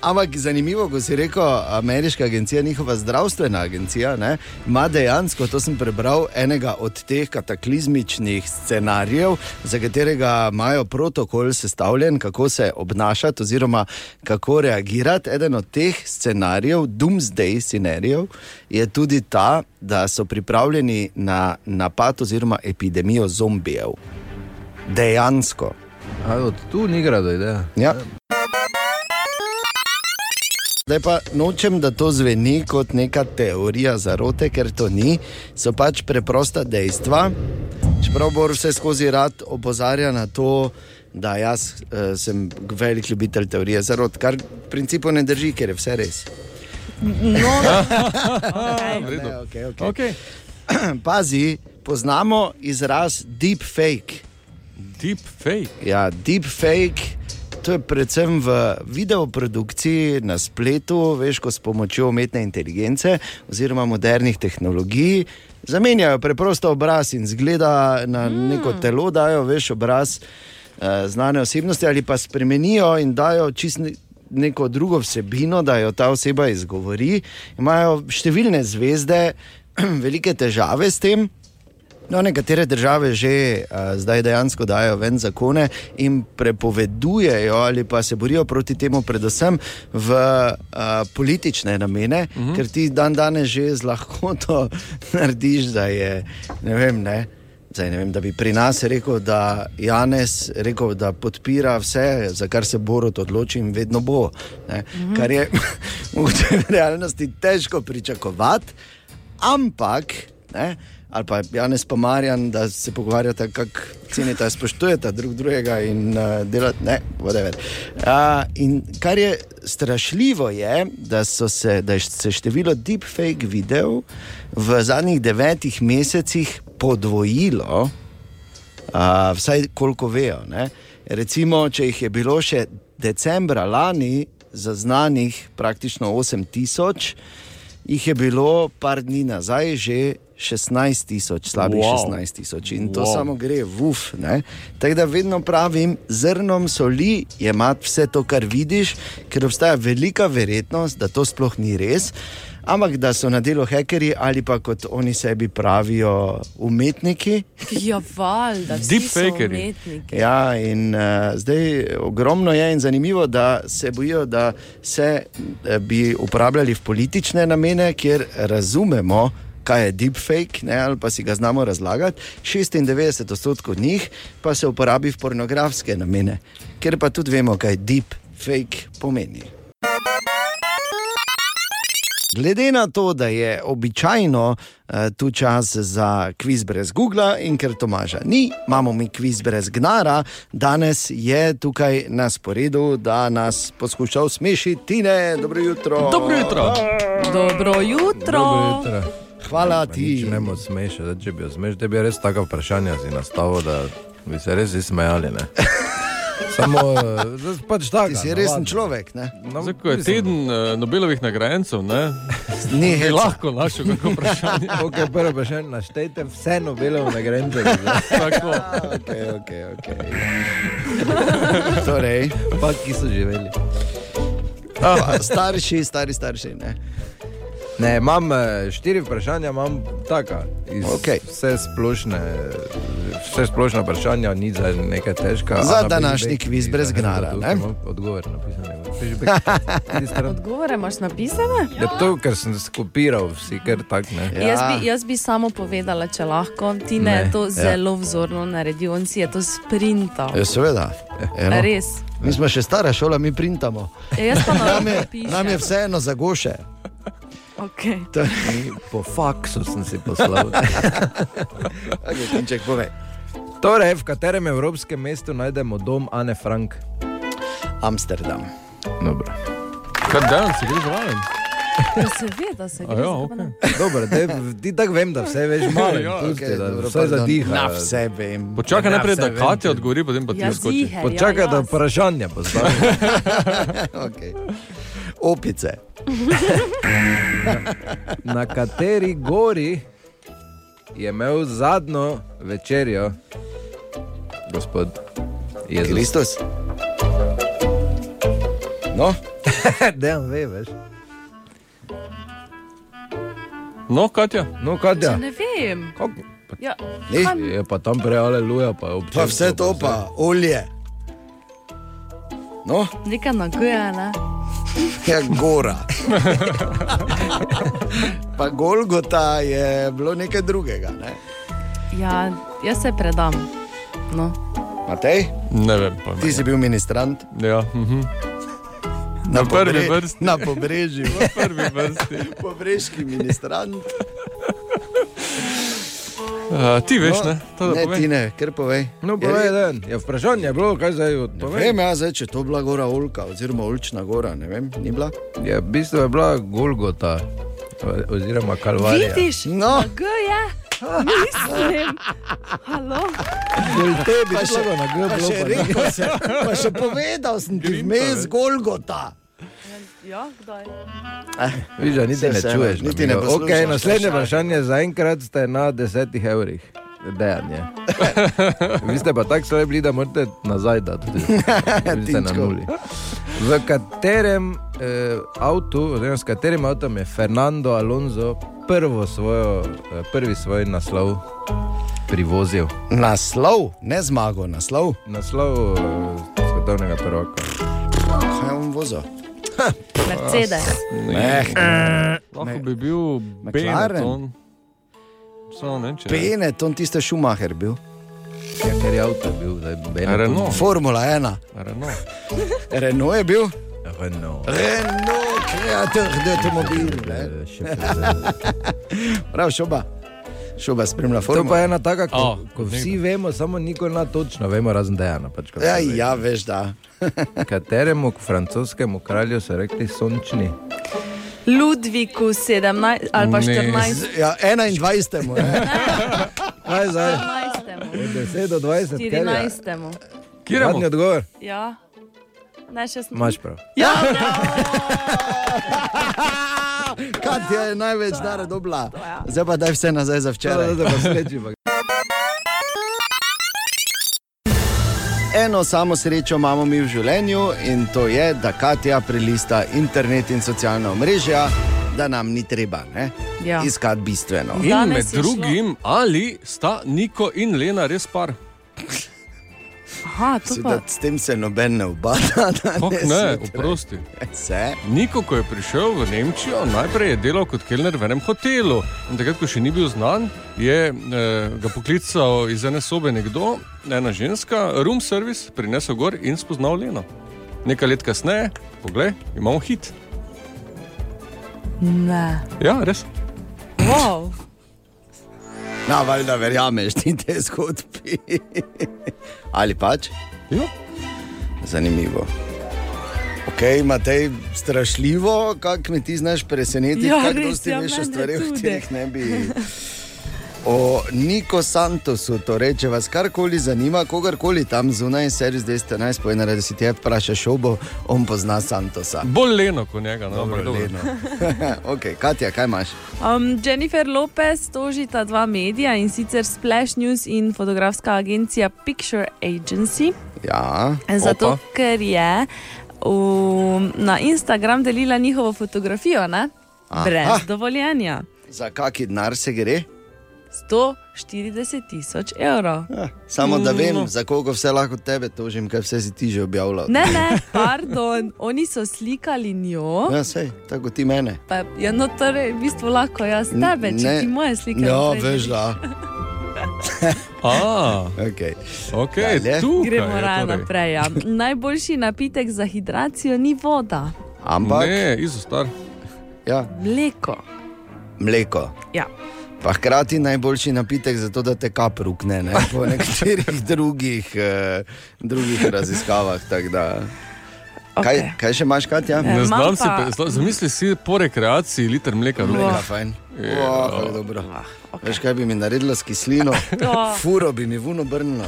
Speaker 1: Ampak zanimivo, ko si rekel, ameriška agencija, njihova zdravstvena agencija, ne, ima dejansko, to sem prebral, enega od teh kataklizmičnih scenarijev, za katerega imajo protokol sestavljen, kako se obnašati oziroma kako reagirati. Eden od teh scenarijev, doomsday scenarijev, je tudi ta, da so pripravljeni na napad oziroma epidemijo zombijev. Dejansko.
Speaker 2: A, od tu ni grado, ideja.
Speaker 1: Ja. Zdaj pa nočem, da to zveni kot neka teorija zarote, ker to ni, so pač preprosta dejstva. Čeprav Bor vse skozi rad opozarja na to, da jaz eh, sem velik ljubitelj teorije zarot, kar v principu ne drži, ker je vse res.
Speaker 8: No,
Speaker 1: V redu. Ne, okay, okay. Okay. Pazi, poznamo izraz deep fake.
Speaker 5: Deep fake.
Speaker 1: Ja, deep fake. To je predvsem v videoprodukciji na spletu, veš, ko s pomočjo umetne inteligence oziroma modernih tehnologij zamenjajo preprosto obraz in zgleda na mm. neko telo, dajo veš obraz eh, znane osebnosti ali pa spremenijo in dajo čist ne- neko drugo vsebino, da jo ta oseba izgovori. Imajo številne zvezde, velike težave s tem. No, nekatere države že uh, zdaj dejansko dajo ven zakone in prepovedujejo, ali pa se borijo proti temu, predvsem v uh, politične namene, uh -huh. ker ti dan danes že z lahkoto narediš, da je ne vem. Ne, Zdaj, ne vem, da bi pri nas rekel, da Janes rekel, da podpira vse, za kar se Borot odloči in vedno bo. Mm -hmm. Kar je mogoče v realnosti težko pričakovati, ampak, ne, ali pa Janes pa Marjan, da se pogovarjata, kako cenita, spoštujeta drug drugega in uh, delata, ne, whatever. Uh, in kar je strašljivo, je, da, so se, da je se število deepfake videov v zadnjih devetih mesecih podvojilo, uh, vsaj koliko vejo. Ne? Recimo, če jih je bilo še decembra lani zaznanih praktično 8000, jih je bilo par dni nazaj že 16 tisoč, slabih
Speaker 19: Wow.
Speaker 1: wow. 16 tisoč. In to
Speaker 19: Wow.
Speaker 1: wow. samo gre, vuf. ne. Tako da vedno pravim, zrnom soli je imati vse to, kar vidiš, ker obstaja velika verjetnost, da to sploh ni res. Ampak da so na delu hekerji ali pa kot oni sebi pravijo, umetniki.
Speaker 6: Ja, valjda, vsi so
Speaker 1: Deepfakerji.
Speaker 6: umetniki.
Speaker 1: Ja, in uh, zdaj ogromno je in zanimivo, da se bojijo, da se eh, bi uporabljali v politične namene, kjer razumemo. Kaj je deepfake, ne, ali pa si ga znamo razlagati, 96 odstotkov njih pa se uporabi v pornografske namene, ker pa tudi vemo, kaj deepfake pomeni. Glede na to, da je običajno uh, tu čas za kviz brez Google in ker Tomaža ni, imamo mi kviz brez Gnara, danes je tukaj na sporedu, da nas poskuša usmešiti. Ne, dobro jutro.
Speaker 6: Dobro jutro. Dobro jutro.
Speaker 1: Hvala
Speaker 2: ti. Ne moreš smešiti, da če bi jo smešil, te bi res taka vprašanja si nastavil, da bi se res izsmejali. ne. Samo, eh, zdaj pač tako.
Speaker 1: Ti si resen človek. Ne?
Speaker 2: No,
Speaker 5: Zdaj, ko je teden uh, Nobelovih nagrajencev, ne?
Speaker 1: Ni
Speaker 5: bi lahko našel kako vprašanje.
Speaker 2: okay, prvo vprašanje, naštejte vse Nobelove nagrade.
Speaker 5: Tako.
Speaker 1: okay, okay, okay. Torej,
Speaker 2: pa ki so živeli.
Speaker 1: Pa starši, stari starši. Ne?
Speaker 2: Ne, imam eh, štiri vprašanja, imam taka. Okay. Vse, splošne, vse splošne vprašanja, ni za nekaj težka.
Speaker 1: Za
Speaker 2: Ana
Speaker 1: današnji
Speaker 2: Bežbek,
Speaker 1: kviz
Speaker 2: ki-
Speaker 1: brez
Speaker 2: da,
Speaker 1: gnara,
Speaker 2: da,
Speaker 1: ne?
Speaker 2: da, imam Odgovor napisan.
Speaker 6: Odgovore imaš napisane?
Speaker 2: Ja, to, kar sem skopiral, vsi kar tak ne.
Speaker 6: Ja. Jaz, bi, jaz bi samo povedala, če lahko. Ti ne,
Speaker 2: Ne,
Speaker 6: je to
Speaker 2: ja.
Speaker 6: ja. zelo vzorno naredil, on si je to sprintal.
Speaker 1: Ja, seveda. Eno.
Speaker 6: Res.
Speaker 1: Mi smo še stara šola, mi printamo.
Speaker 6: Ja, jaz pa
Speaker 1: nam, je,
Speaker 6: napišem.
Speaker 1: nam je vseeno za goše.
Speaker 6: Okay.
Speaker 2: Torej, po faksu sem si poslal.
Speaker 1: okay, Pinček, povej.
Speaker 2: Torej, v katerem evropskem mestu najdemo dom Ane Frank?
Speaker 1: Amsterdam.
Speaker 2: Dobro.
Speaker 5: Kaj danes si greš zraven?
Speaker 6: Ja, seveda se gre.
Speaker 2: Ja,
Speaker 6: okay.
Speaker 2: Dobro, dej, ti tako vem, da vse veš malo.
Speaker 5: Ja,
Speaker 2: pusti,
Speaker 5: okej,
Speaker 2: da
Speaker 5: dobro,
Speaker 2: vse
Speaker 5: pardon.
Speaker 2: zadiha.
Speaker 5: Na
Speaker 1: vse Ja, vem.
Speaker 5: Počakaj
Speaker 2: Na
Speaker 5: najprej,
Speaker 2: vse
Speaker 5: da
Speaker 2: vem,
Speaker 5: Katja
Speaker 2: če-
Speaker 5: odgovori, potem pa ti
Speaker 2: Ja,
Speaker 5: skočiš.
Speaker 2: ziher, ja, Počakaj, da jaz. vprašanja postavi.
Speaker 1: okay. Opice.
Speaker 2: Na kateri gori je imel zadnjo večerjo, gospod Jezus?
Speaker 1: Kristus. No?
Speaker 2: Dejan ve, veš.
Speaker 5: No, Katja.
Speaker 2: No, Katja.
Speaker 6: Ja. Ne vem. Ja.
Speaker 2: Ej,
Speaker 6: kaj-
Speaker 2: Je pa tam prej aleluja, pa je občutek. Pa vse to
Speaker 1: pa, olje. No?
Speaker 6: Neka nagoja, ne?
Speaker 1: Ja, gora. pa Golgota je bilo nekaj drugega. Ne?
Speaker 6: Ja, jaz se predam. No.
Speaker 1: Matej?
Speaker 5: Ne vem. Pa,
Speaker 1: Ti si bil ministrant?
Speaker 5: Ja. mhm.
Speaker 1: Na,
Speaker 5: Na prvi
Speaker 1: pobre-
Speaker 5: vrsti.
Speaker 1: Na pobrežju.
Speaker 5: Na prvi vrsti.
Speaker 1: Pobrežki ministrant.
Speaker 5: A, Eh, ti veš,
Speaker 1: no,
Speaker 5: ne? To, da
Speaker 1: ne,
Speaker 5: povem.
Speaker 1: ti ne, ker povej.
Speaker 2: No, povej, Dan. Ja, vprašanje je bilo, kaj zdaj
Speaker 1: Ne
Speaker 2: odpovej.
Speaker 1: vem, ja, zdaj, če je to bila gora Olka, oziroma Olčna gora, ne vem, ni bila.
Speaker 2: Ja, v bistvu je bila Golgota, oziroma Kalvarija.
Speaker 6: Vidiš,
Speaker 1: no.
Speaker 6: nagoja. Mislim. Halo.
Speaker 2: Bolj tebi
Speaker 1: Pa
Speaker 2: je
Speaker 1: še-
Speaker 2: šlo na
Speaker 1: pa še
Speaker 2: Golgoto.
Speaker 1: rekel sem, pa še povedal sem ti vmes Golgota.
Speaker 6: Ja, kdaj?
Speaker 2: Eh, Vidiš, da niti
Speaker 1: Saj
Speaker 2: ne
Speaker 1: vseeno,
Speaker 2: čuješ.
Speaker 1: niti ne
Speaker 2: namigo.
Speaker 1: poslušaš.
Speaker 2: okay, naslednje vprašanje za enkrat ste na 10 evrih. Dejan je. Vi ste pa tako slabi, da morate nazaj dati. Vi ste na
Speaker 1: Tinčko.
Speaker 2: nuli. V katerem eh, avtu, oziroma s katerim avtom je Fernando Alonso prvo svojo, eh, prvi svoj naslov privozil?
Speaker 1: Naslov, ne zmago, naslov.
Speaker 2: Naslov eh, svetovnega prvaka.
Speaker 1: Kaj je on vozo?
Speaker 6: Mercedes.
Speaker 2: Ah,
Speaker 1: Ne.
Speaker 5: Lahko bi bil
Speaker 1: McLaren.
Speaker 5: Benetton. Samo ne, če ne.
Speaker 1: Benetton, tiste šumacher bil.
Speaker 2: Ja, ker je avto bil, da je Benetton.
Speaker 5: Renault.
Speaker 1: Formula 1.
Speaker 5: Renault.
Speaker 1: Renault je bil.
Speaker 2: Ja, Renault.
Speaker 1: Renault, kreator avtomobil. Prav, šoba. Šoba spremlja
Speaker 2: To pa
Speaker 1: formulo.
Speaker 2: je ena taka, ko,
Speaker 1: A,
Speaker 2: oh, ko vsi vemo, samo nikoli na točno vemo, razen dejana. Pač, ko
Speaker 1: Ja,
Speaker 2: se ve.
Speaker 1: ja, veš, da.
Speaker 2: Kateremu francoskemu kralju so rekli sončni?
Speaker 6: Ludviku 17 ali pa
Speaker 2: Ne.
Speaker 6: 14.
Speaker 1: Ja, 21. mu je.
Speaker 2: Kaj zdaj?
Speaker 6: 14.
Speaker 2: Od 10 do 20. ker ja. je-
Speaker 6: 14.
Speaker 2: Kjer je zadnji odgovor?
Speaker 6: Ja. Ne, 16.
Speaker 2: Imaš prav.
Speaker 6: Ja,
Speaker 1: Katja je največ dara dobla. Zdaj pa daj vse nazaj za
Speaker 5: No,
Speaker 1: včeraj.
Speaker 2: Zdaj pa sreči.
Speaker 6: Ja,
Speaker 1: Eno samo srečo imamo mi v življenju in to je, da Katja prelista internet in socialna omrežja, da nam ni treba ne?
Speaker 6: Ja.
Speaker 1: iskati bistveno.
Speaker 5: In med drugim, ali sta Niko in Lena res par?
Speaker 6: Aha, to
Speaker 1: Si,
Speaker 6: pa.
Speaker 1: da, s tem se noben ne obada.
Speaker 5: Fak ne,
Speaker 1: danes zjutraj.
Speaker 5: oprosti.
Speaker 1: Se?
Speaker 5: Niko, ko je prišel v Nemčijo, najprej je delal kot kelner v enem hotelu. In takrat, ko še ni bil znan, je eh, ga poklical iz ene sobe nekdo, ena ženska, room service, prinesel gor in spoznal Leno. Nekaj let kasneje, poglej, imamo hit.
Speaker 6: Ne.
Speaker 5: Ja, res.
Speaker 6: Wow.
Speaker 1: Na, valjda verjameš ti te zgodbe. Ali pač?
Speaker 5: Ja.
Speaker 1: Zanimivo. Ok, Matej, strašljivo, kako me ti znaš presenetiti,
Speaker 6: Ja,
Speaker 1: kako
Speaker 6: res,
Speaker 1: dosti
Speaker 6: ja,
Speaker 1: veš o
Speaker 6: mene
Speaker 1: stvareh, o
Speaker 6: tudi.
Speaker 1: katerih ne bi. O Niko Santosu, torej, če vas karkoli zanima, kogarkoli tam zunaj, seri zdaj ste najspojeni, da si ti vprašaš šobo, on pozna Santosa.
Speaker 5: Bolj Leno kot njega, no, ampak
Speaker 1: Dobro,
Speaker 5: dobro.
Speaker 1: Leno. ok, Katja, kaj imaš?
Speaker 6: Um, Jennifer Lopez tožita dva medija in sicer Splash News in fotografska agencija Picture Agency.
Speaker 1: Ja,
Speaker 6: Zato,
Speaker 1: opa.
Speaker 6: ker je um, na Instagram delila njihovo fotografijo, ne?
Speaker 1: Aha.
Speaker 6: brez dovoljenja.
Speaker 1: Za kaki denar se gre?
Speaker 6: 140 tisoč evrov.
Speaker 1: Eh, Samo da vem,
Speaker 6: No.
Speaker 1: no. za koliko vse lahko tebe tožim, kaj vse si ti že objavljal.
Speaker 6: Ne, ne, pardon, oni so slikali njo.
Speaker 1: Ja, sej, tako kot ti mene.
Speaker 6: Pa, ja, no, torej, v bistvu lahko jaz tebe, če
Speaker 1: Ne.
Speaker 6: ti moje slike.
Speaker 1: Ja,
Speaker 6: naprej
Speaker 1: veš, da.
Speaker 5: A,
Speaker 1: okay.
Speaker 5: Okay,
Speaker 1: Dalje.
Speaker 7: ja,
Speaker 5: tukaj,
Speaker 6: Gremo
Speaker 5: je
Speaker 6: raje
Speaker 5: torej.
Speaker 6: naprej. Ja. Najboljši napitek za hidracijo ni voda.
Speaker 1: Ampak,
Speaker 5: Ne, izostar.
Speaker 1: Ja.
Speaker 6: Mleko.
Speaker 1: Mleko.
Speaker 6: Ja.
Speaker 1: Pa hkrati najboljši napitek, zato da te kap rukne, ne? po nekaterih drugih, eh, drugih raziskavah. tako da. Kaj, okay. kaj še imaš, Katja?
Speaker 5: Ne znam si, pre- zla- zamisli si po rekreaciji liter mleka.
Speaker 1: Mleka,
Speaker 5: rukav.
Speaker 1: fajn.
Speaker 5: Je,
Speaker 1: Oh,
Speaker 5: no.
Speaker 1: kako dobro. Okay. Veš, kaj bi mi naredila s kislino?
Speaker 6: Oh.
Speaker 1: Furo bi mi vuno brnilo.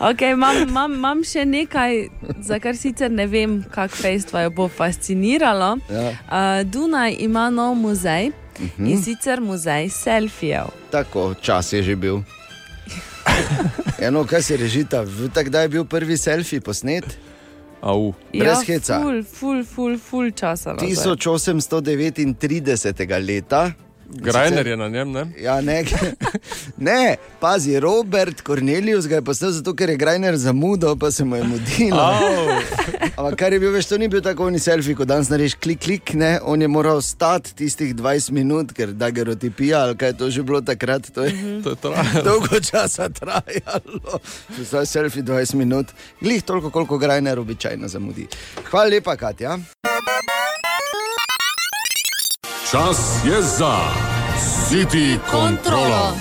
Speaker 6: Okay, imam, imam, imam še nekaj, za kar sicer ne vem, kako fejstva jo bo fasciniralo.
Speaker 1: Ja.
Speaker 6: Uh, Dunaj ima nov muzej uh
Speaker 1: Mhm.
Speaker 6: -huh. in sicer muzej selfijev.
Speaker 1: Tako, čas je že bil. Eno, kaj si režita, takdaj je bil prvi selfie posnet,
Speaker 5: Au.
Speaker 1: brez
Speaker 6: Ja.
Speaker 1: heca.
Speaker 6: Ful, ful, ful, ful časa. nazaj.
Speaker 1: 1839. leta.
Speaker 5: Grajner je na njem, ne?
Speaker 1: Ja, ne, ne, pazi, Robert Cornelius ga je postal zato, ker je Grajner zamudil, pa se mu je mudilo.
Speaker 5: Au.
Speaker 1: Ampak kar je bil, veš, to ni bil tako oni selfie, kot danes narediš klik, klik, ne, on je moral stati tistih 20 minut, ker da gerotipija ali kaj je to že bilo takrat. To je,
Speaker 5: Mhm. To je trajalo.
Speaker 1: Dolgo časa trajalo, zdaj selfie 20 minut, glih toliko, koliko Grajner običajno zamudi. Hvala lepa, Katja.
Speaker 7: Čas je za City kontrolo.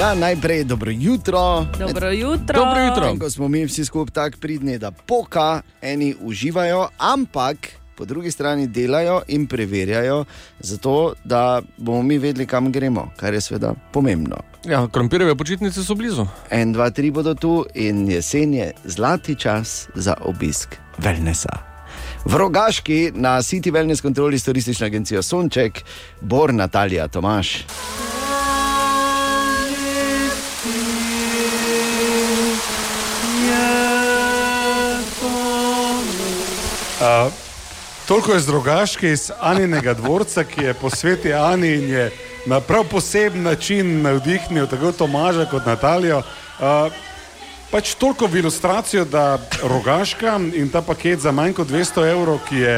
Speaker 1: Ja, najprej dobro jutro.
Speaker 6: Dobro jutro.
Speaker 7: Dobro jutro.
Speaker 1: Ko smo mi vsi skupaj tako pridni, da poka, eni uživajo, ampak po drugi strani delajo in preverjajo, zato da bomo mi vedeli, kam gremo, kar je seveda pomembno.
Speaker 5: Ja, krompirjeve počitnice so blizu.
Speaker 1: En, dva, tri bodo tu in jesen je zlati čas za obisk wellnessa. V Rogaški na City Wellness kontroli s turistično agencijo Sonček, Bor Natalija Tomaš.
Speaker 3: Uh, toliko je zdrogaški iz Aninega dvorca, ki je po svetu Ani in je na prav poseben način navdihnil tako Tomaža kot Natalijo. Uh, pač toliko v ilustracijo, da rogaška in ta paket za manj kot 200 evrov, ki je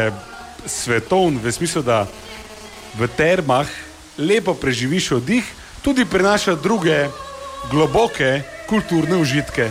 Speaker 3: svetovn, v smislu, da v termah lepo preživiš oddih, tudi prinaša druge globoke kulturne užitke.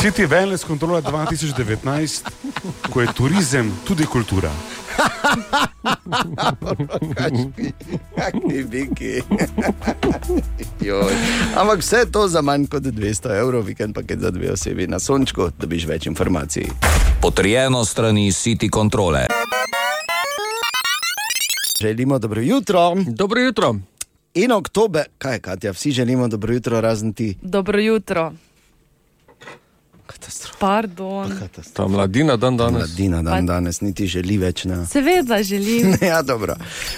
Speaker 3: City Wellness kontrola 2019, ko je turizem tudi kultura.
Speaker 1: Kakšni biki. Joj. Ampak vse to za manj kot 200 evrov, vikend paket za dve osebi na sončku, da biš več informacij.
Speaker 11: Potrjeno strani City kontrole.
Speaker 1: Želimo dobro jutro.
Speaker 5: Dobro jutro.
Speaker 1: In oktober, kaj je Katja, vsi želimo dobro jutro, razen ti.
Speaker 6: Dobro jutro. Katastrofa. Pardon.
Speaker 5: Ta mladina dan danes.
Speaker 1: Mladina dan danes niti želi več. Ne?
Speaker 6: Seveda želim.
Speaker 1: ja, dobro.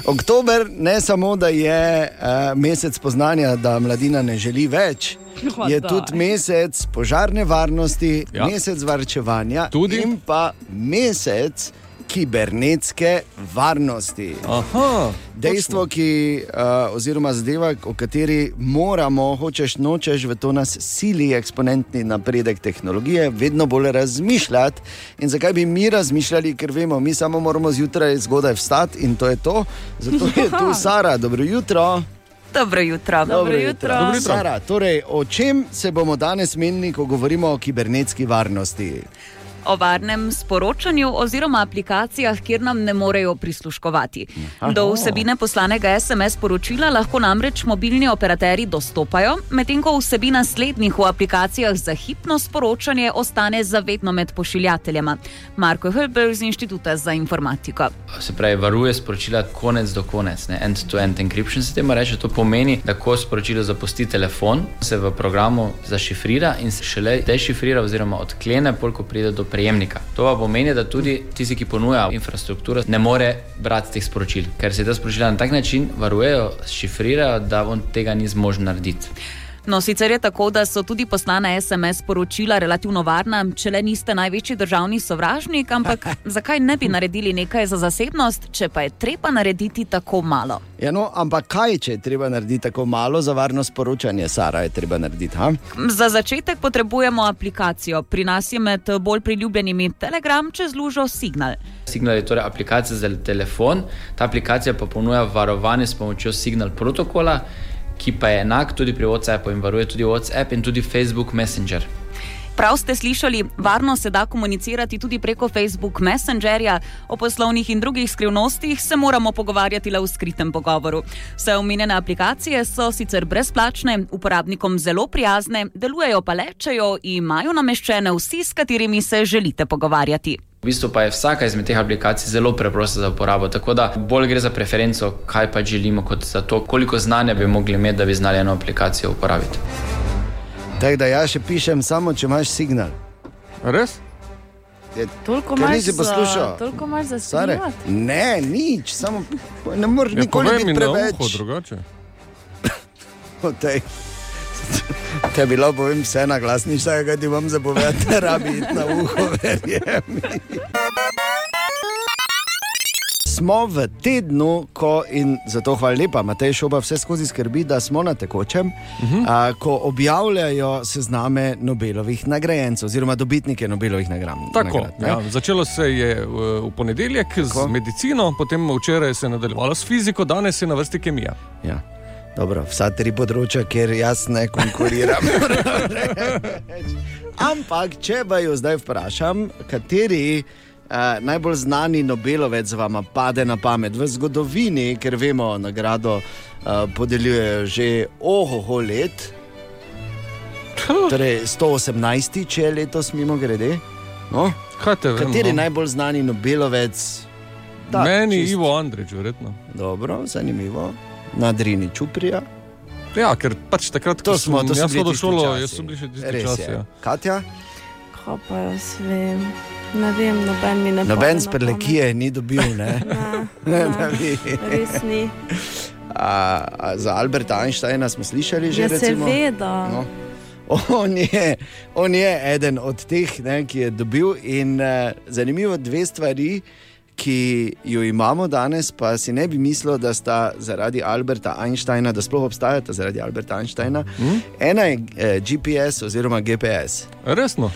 Speaker 1: Oktober ne samo, da je uh, mesec poznanja, da mladina ne želi več,
Speaker 6: Ma
Speaker 1: je
Speaker 6: daj.
Speaker 1: tudi mesec požarne varnosti,
Speaker 5: Ja.
Speaker 1: ja. mesec varčevanja
Speaker 5: Tudi.
Speaker 1: in pa mesec kibernetske varnosti.
Speaker 5: Aha,
Speaker 1: Dejstvo, ki, uh, oziroma zadeva, o kateri moramo, hočeš nočeš, v to nas sili eksponentni napredek tehnologije, vedno bolj razmišljati. In zakaj bi mi razmišljali, ker vemo, mi samo moramo zjutraj zgodaj vstati in to je to. Zato je tu Sara, dobro jutro.
Speaker 19: Dobro jutro.
Speaker 1: Dobro jutro. Sara, torej, o čem se bomo danes menili, ko govorimo o kibernetski varnosti?
Speaker 19: O varnem sporočanju oziroma aplikacijah, kjer nam ne morejo prisluškovati.
Speaker 1: Aha.
Speaker 19: Do vsebine poslanega SMS poročila lahko namreč mobilni operaterji dostopajo, medtem ko vsebina slednjih v aplikacijah za hipno sporočanje ostane zavedno med pošiljateljema. Marko Helber z Inštituta za informatiko.
Speaker 20: se pravi, varuje sporočila konec do konec, ne end-to-end encryption sistema. Reče, to pomeni, da ko sporočilo zapusti telefon, se v programu zašifrira in se šele dešifrira oziroma odklene, pol, ko pride do prejemnika. To pa pomeni, da tudi tisti, ki ponuja infrastrukturo, ne more brati teh sporočil, ker se ta sporočila na tak način varujejo, šifrirajo, da on tega ni zmožen narediti.
Speaker 19: No, sicer je tako, da so tudi poslana SMS sporočila relativno varna, če le niste največji državni sovražnik, ampak zakaj ne bi naredili nekaj za zasebnost, če pa je treba narediti tako malo?
Speaker 1: Ja, no, ampak kaj, če je treba narediti tako malo za varno sporočanje, Sara je treba narediti? Ha?
Speaker 19: Za začetek potrebujemo aplikacijo. Pri nas je med bolj priljubljenimi Telegram čez lužo Signal.
Speaker 20: Signal je torej aplikacija za telefon, ta aplikacija pa ponuja varovanje s pomočjo Signal protokola, ki pa je enak tudi pri WhatsAppu in varuje tudi WhatsApp in tudi Facebook Messenger.
Speaker 19: Prav ste slišali, varno se da komunicirati tudi preko Facebook Messengerja, o poslovnih in drugih skrivnostih se moramo pogovarjati le v skritem pogovoru. Vse omenjene aplikacije so sicer brezplačne, uporabnikom zelo prijazne, delujejo pa le, če jo imajo nameščene vsi, s katerimi se želite pogovarjati.
Speaker 20: V bistvu pa je vsaka izmed teh aplikacij zelo preprosta za uporabo, tako da bolj gre za preferenco, kaj pa želimo, kot za to, koliko znanja bi mogli imeti, da bi znali eno aplikacijo uporabiti.
Speaker 1: Tako da jaz še pišem, samo če imaš signal.
Speaker 5: Res?
Speaker 1: Je,
Speaker 8: Toliko
Speaker 1: ker
Speaker 8: imaš
Speaker 1: nisi
Speaker 8: za-
Speaker 1: poslušal.
Speaker 8: toliko imaš za
Speaker 1: Sare,
Speaker 8: skrivati?
Speaker 1: Ne, nič, samo ne moreš
Speaker 5: Ja,
Speaker 1: nikoli
Speaker 5: povej mi na
Speaker 1: biti preveč.
Speaker 5: uho drugače.
Speaker 1: O tej- Te je bilo, povem, vse na glas, nič takega, kaj ti vam zapovedati, ne rabi iti na uho, verjemi. Smo v tednu, ko in zato hvala lepa, Matej Šoba vse skozi skrbi, da smo na tekočem, uh
Speaker 5: Mhm.
Speaker 1: -huh. a, ko objavljajo sezname Nobelovih nagrajencev, oziroma dobitnike Nobelovih nagrad.
Speaker 5: Tako,
Speaker 1: nagrad, ne?
Speaker 5: ja, začelo se je eh, v ponedeljek z medicino, potem včeraj se je nadaljevalo s fiziko, danes je na vrsti kemija.
Speaker 1: Ja. Dobro, vsa tri področja, kjer jaz ne konkuriram. Ampak, če pa jo zdaj vprašam, kateri eh, najbolj znani Nobelovec vam pade na pamet v zgodovini, ker vemo, nagrado eh, podeljujejo že ohoho let, torej 118, če je letos mimo grede. No?
Speaker 5: Vem,
Speaker 1: Kateri
Speaker 5: no.
Speaker 1: najbolj znani Nobelovec?
Speaker 5: Da, Meni je
Speaker 1: čisto.
Speaker 5: Ivo Andrej, verjetno.
Speaker 1: Dobro, zanimivo. Na Drini Čuprija.
Speaker 5: Ja, ker pač takrat, ko
Speaker 1: To smo,
Speaker 5: sem
Speaker 1: to so
Speaker 5: jaz
Speaker 1: bili
Speaker 5: hodil v
Speaker 1: tisti
Speaker 5: šolo,
Speaker 1: časi.
Speaker 5: jaz sem bil še tisti
Speaker 1: Res
Speaker 5: čas.
Speaker 1: je.
Speaker 5: Ja.
Speaker 1: Katja?
Speaker 4: Kaj pa jaz vem? Ne vem, noben mi ne pove. no,
Speaker 1: Noben z prelekije ni dobil, ne?
Speaker 4: Ne,
Speaker 1: Da bi-
Speaker 4: res ni.
Speaker 1: A, a za Alberta Einsteina smo slišali že.
Speaker 4: Ja,
Speaker 1: recimo?
Speaker 4: seveda.
Speaker 1: No. On je, on je eden od teh, ne, ki je dobil. In, uh, zanimivo, dve stvari, ki jo imamo danes, pa si ne bi mislil, da sta zaradi Alberta Einsteina, da sploh obstajata zaradi Alberta Einsteina.
Speaker 5: Hm?
Speaker 1: Mm? Ena je eh, GPS oziroma GPS.
Speaker 5: Resno.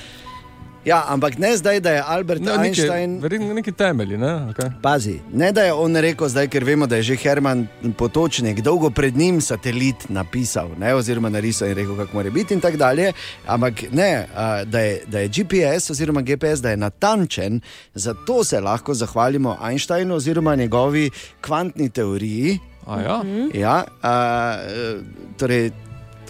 Speaker 1: Ja, ampak ne zdaj, da je Albert
Speaker 5: Ne, nekaj-
Speaker 1: Einstein.
Speaker 5: Verjetno neki temelji. Ne? Okay.
Speaker 1: Pazi, ne da je on rekel, zdaj, ker vemo, da je že Herman Potočnik dolgo pred njim satelit napisal, ne, oziroma narisal in rekel, kako mora biti in tako dalje. Ampak ne, a, da je, da je GPS oziroma GPS, da je natančen, zato se lahko zahvalimo Einsteinu oziroma njegovi kvantni teoriji.
Speaker 5: A ja?
Speaker 1: Ja, a, e, torej,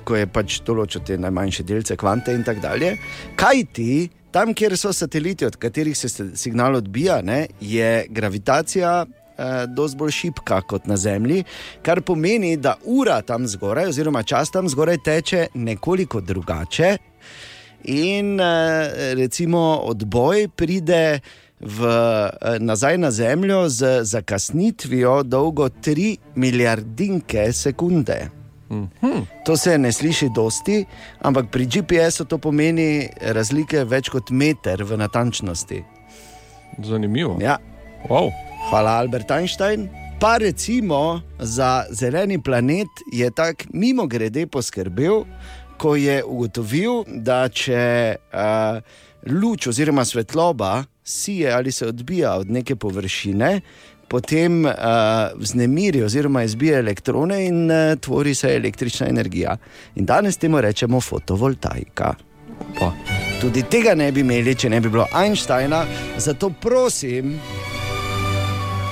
Speaker 1: ko je pač določil te najmanjše delce, kvante in tako dalje. Kaj ti, tam, kjer so sateliti, od katerih se se signal odbija, ne, je gravitacija. eh, Dosti bolj šipka kot na Zemlji, kar pomeni, da ura tam zgoraj, oziroma čas tam zgoraj teče nekoliko drugače, in eh, recimo odboj pride v, eh, nazaj na Zemljo z zakasnitvijo dolgo 3 milijardinke sekunde. To se ne sliši dosti, ampak pri GPS-u to pomeni razlike več kot meter v natančnosti.
Speaker 5: Zanimivo.
Speaker 1: Ja.
Speaker 5: Wow.
Speaker 1: Hvala, Albert Einstein. Pa recimo za zeleni planet je tako mimo grede poskrbel, ko je ugotovil, da če uh, luč oziroma svetloba sije ali se odbija od neke površine, potem uh, vznemiri oziroma izbije elektrone in uh, tvori se električna energija. In danes temu rečemo fotovoltaika.
Speaker 5: Pa.
Speaker 1: Tudi tega ne bi imeli, če ne bi bilo Einsteina, zato prosim.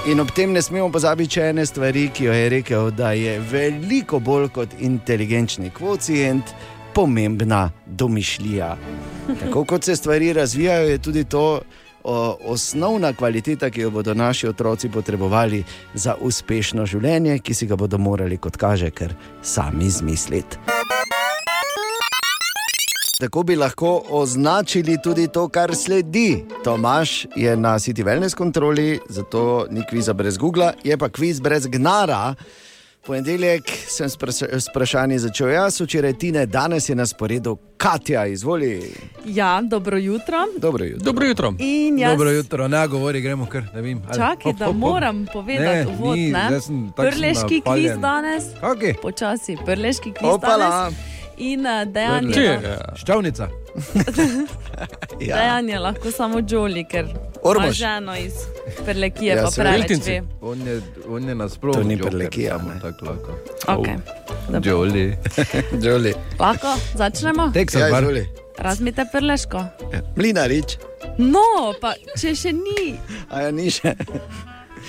Speaker 1: In ob tem ne smemo pozabiti še ene stvari, ki jo je rekel, da je veliko bolj kot inteligenčni koeficient pomembna domišljija. Tako kot se stvari razvijajo, je tudi to o, osnovna kvaliteta, ki jo bodo naši otroci potrebovali za uspešno življenje, ki si ga bodo morali, kot kaže, ker sami izmisliti. Tako bi lahko označili tudi to, kar sledi. Tomaš je na City Wellness kontroli, zato ni kviza brez Google, je pa kviz brez gnara. Ponedeljek sem s pres- s vprašanji začel jaz, včeraj Tine, danes je na sporedu Katja, izvoli.
Speaker 6: Ja, dobro jutro.
Speaker 1: Dobro jutro.
Speaker 5: Dobro jutro.
Speaker 6: In jaz-
Speaker 2: Dobro jutro, ne govori, gremo kar, ne vem. ali-
Speaker 6: Čakaj,
Speaker 2: hop,
Speaker 6: da
Speaker 2: hop, hop.
Speaker 6: moram
Speaker 2: Ne,
Speaker 6: povedati uvod.
Speaker 2: ni,
Speaker 6: ne.
Speaker 2: zdaj sem tako
Speaker 6: Prleški kviz
Speaker 2: napaljen.
Speaker 6: danes.
Speaker 2: Okay.
Speaker 6: Počasi, prleški kviz
Speaker 2: Opala.
Speaker 6: danes. In eh, dejan
Speaker 2: Prle.
Speaker 6: je,
Speaker 2: Ščavnica.
Speaker 6: ja. dejan je lahko samo Joli, ker ima
Speaker 2: Ormož.
Speaker 6: ženo iz Prlekije, ja, pa preveč ve.
Speaker 2: On je, on je nasploh. To ni prelekija. Tako lahko.
Speaker 6: Okej,
Speaker 2: Joli.
Speaker 1: Joli.
Speaker 6: Lahko začnemo?
Speaker 2: Teksas Ja, bar. izvoli.
Speaker 6: Razmite prleško.
Speaker 1: Mlinarič,
Speaker 6: No, pa če še ni,
Speaker 1: a ja ni še.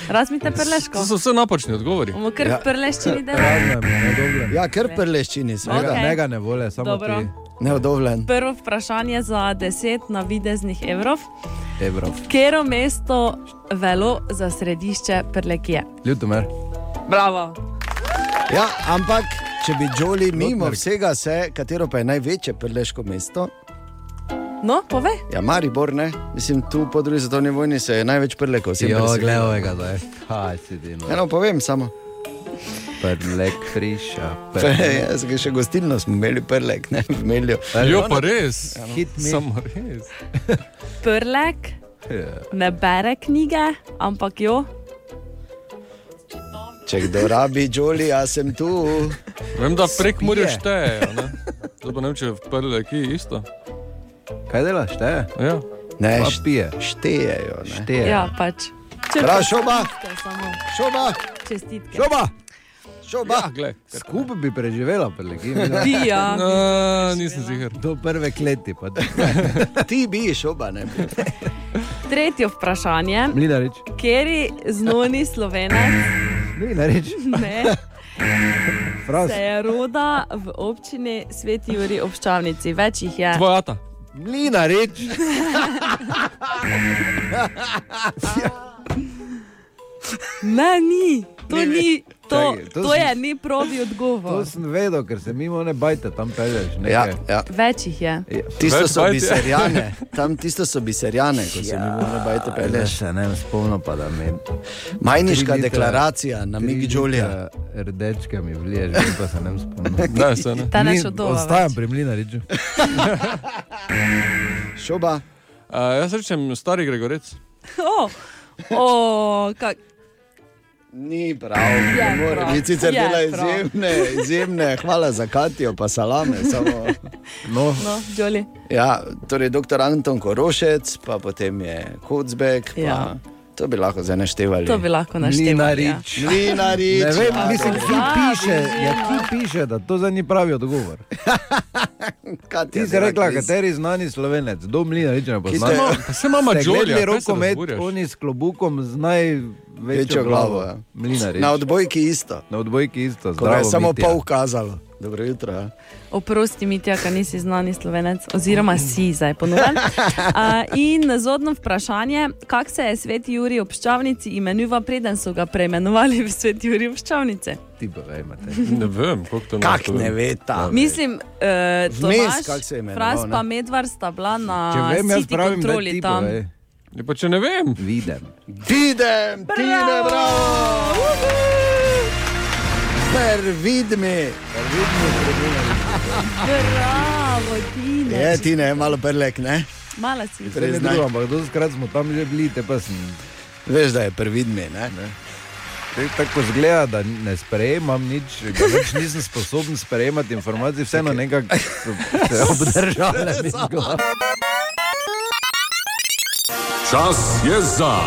Speaker 6: razmite prleško.
Speaker 5: To so vse napačni odgovori.
Speaker 6: Bomo kar v prleščini delali.
Speaker 2: preleščini.
Speaker 1: Ja, kar preleščini, seveda.
Speaker 6: Okej. Mega
Speaker 2: ne vole,
Speaker 6: samo Dobro. ti.
Speaker 1: Neodovlen.
Speaker 6: Prvo vprašanje za 10 navideznih evrov.
Speaker 2: Evrov.
Speaker 6: Kero mesto velo za središče Prlekije?
Speaker 2: Ljutomer.
Speaker 6: Bravo.
Speaker 1: Ja, ampak, če bi Joli mimo vsega se, katero pa je največje preleško mesto,
Speaker 6: No, povej.
Speaker 1: ja, Maribor, ne, mislim, tu po drugi svetovni vojni se je največ prelekov. vsi
Speaker 2: Ja,
Speaker 1: preselili.
Speaker 2: gledaj ovega zdaj. Kaj si ti?
Speaker 1: Ja, no, povem samo.
Speaker 2: Prelek friša.
Speaker 1: Jaz ga še gostilno smo imeli prelek, ne, v Melju.
Speaker 5: Jo, pa res.
Speaker 1: Ja, no.
Speaker 2: Hit me.
Speaker 5: Samo res.
Speaker 6: Prlek
Speaker 2: Ja.
Speaker 6: ne bere knjige, ampak jo.
Speaker 1: Če kdo rabi Joli, jaz sem tu.
Speaker 5: Vem, da prek morja
Speaker 1: Spije.
Speaker 5: štejejo. ne. Zdaj pa ne vem, če je v prle, ki je isto.
Speaker 2: Kaj delaš, šteje?
Speaker 5: Ja.
Speaker 1: Ne,
Speaker 5: Pa
Speaker 2: pije.
Speaker 1: Štejejo. ne.
Speaker 6: Ja, ja pač. Če
Speaker 1: Prav,
Speaker 6: pa-
Speaker 1: šoba.
Speaker 6: Samo.
Speaker 1: Šoba.
Speaker 6: Čestitke.
Speaker 2: Šoba.
Speaker 1: Šoba.
Speaker 5: Ja, glej.
Speaker 2: Skupaj bi preživela, preleki.
Speaker 6: Bi, ja.
Speaker 5: No, nisem ziger.
Speaker 2: Do prve kleti. pa do-
Speaker 1: Ti bi šoba, ne bi.
Speaker 6: Tretje vprašanje.
Speaker 2: Mlinarič.
Speaker 6: Keri znani slovenec
Speaker 2: Mlinarič.
Speaker 6: ne,
Speaker 2: Fras.
Speaker 6: se je roda v občini Sveti Juri občavnici? Več jih je.
Speaker 5: Tvoj ata.
Speaker 2: Mlinarič.
Speaker 1: Ja.
Speaker 6: Ne, ni. To,
Speaker 2: Ni,
Speaker 6: ni, to,
Speaker 2: Čakaj, to
Speaker 6: to
Speaker 2: sem-
Speaker 6: je ni pravi
Speaker 2: To
Speaker 6: odgovor.
Speaker 2: sem vedel, ker se mimo ne bajte, tam pelješ.
Speaker 1: Ja, ja.
Speaker 6: Več jih je.
Speaker 1: Tisto
Speaker 2: Več
Speaker 1: so
Speaker 2: bajte.
Speaker 1: biserjane, tam tisto so biserjane, ko se
Speaker 2: Ja,
Speaker 1: mi ne bajte
Speaker 2: Peleš.
Speaker 1: peleš.
Speaker 2: Se ne spomnim, pa da me.
Speaker 1: Majniška
Speaker 2: Tri litra-
Speaker 1: deklaracija na
Speaker 2: tri
Speaker 1: Mik Jolija.
Speaker 2: litra Rdečka mi vliješ, zdaj pa se ne spomnim.
Speaker 5: Ne, se ne.
Speaker 6: Ta ne
Speaker 2: Ni-
Speaker 6: šodova
Speaker 2: Ostajam pri mlinariču.
Speaker 1: Šoba.
Speaker 5: Uh, jaz rečem stari Gregorec.
Speaker 6: O, o, kak,
Speaker 1: Ni prav, ne more.
Speaker 6: prav.
Speaker 1: Mi sicer
Speaker 6: Je
Speaker 1: dela
Speaker 6: prav.
Speaker 1: izjemne, izjemne, hvala za Katijo, pa salame. Samo.
Speaker 2: No.
Speaker 6: no, Joli.
Speaker 1: Ja, torej, doktor Anton Korošec, pa potem je Hutzbek. Ja.
Speaker 6: Ja.
Speaker 1: To bi lahko zdaj naštevali.
Speaker 6: To bi lahko naštevali,
Speaker 2: Mlinarič.
Speaker 1: ja. Mlinarič.
Speaker 2: Ne vem,
Speaker 1: Ja,
Speaker 2: mislim,
Speaker 1: to
Speaker 2: ki piše, ja, ki piše, da to zdaj ni pravi odgovor.
Speaker 1: Katja
Speaker 2: Ti si
Speaker 1: dela
Speaker 2: rekla,
Speaker 1: kviz.
Speaker 2: kateri znani slovenec, do mlinarič ne
Speaker 1: Ja, Ki
Speaker 2: poznaš.
Speaker 1: te-
Speaker 5: Pa se mama
Speaker 2: Ste
Speaker 5: Jolija,
Speaker 2: gledali
Speaker 5: kaj se
Speaker 2: rokomet,
Speaker 5: razburjaš?
Speaker 2: oni s klobukom z največjo
Speaker 1: Večjo glavo.
Speaker 2: glavo.
Speaker 1: ja.
Speaker 2: Mlinarič.
Speaker 1: Na odbojki isto.
Speaker 2: Na odbojki isto,
Speaker 1: Ko ga je
Speaker 2: zdravo.
Speaker 1: samo
Speaker 2: Mitja.
Speaker 1: pol kazalo. Dobro jutro. Ja.
Speaker 6: Oprosti, Mitja, ker nisi znani slovenec, oziroma si zdaj ponovljen. Uh, in zodno vprašanje, kako se je svet Juri občavnici imenoval, preden so ga preimenovali v svet Juri občavnice?
Speaker 2: Ti pa vej, imate.
Speaker 5: Ne vem, kako to
Speaker 1: Kak
Speaker 5: lahko vem.
Speaker 1: ne ve ta?
Speaker 5: Ne vem.
Speaker 6: Mislim, uh,
Speaker 1: Vmes,
Speaker 6: Tomaš,
Speaker 1: kako se je imenoval,
Speaker 6: Fras
Speaker 1: ne?
Speaker 6: pa Medvar sta bila
Speaker 5: Če
Speaker 6: na
Speaker 5: vem, jaz
Speaker 6: City
Speaker 5: pravim, da
Speaker 6: kontroli
Speaker 5: ti
Speaker 6: tam.
Speaker 5: povej. Ja, pa če ne vem.
Speaker 2: Vidim.
Speaker 1: Videm, ti ne bravo! Prvidmi.
Speaker 6: Bravo, Tina.
Speaker 1: Je ti ne, malo prelek, ne?
Speaker 6: Mala si.
Speaker 2: Prej Torej, ne drugo, ampak doskrat smo tam že bili, te pa sem.
Speaker 1: Veš, da je prvidmi, ne?
Speaker 2: Te Tako zgleda, da ne sprejemam nič, ga več nisem sposoben sprejemati informacij, vseeno nekako so se obdržale. mi zgor.
Speaker 7: Čas je za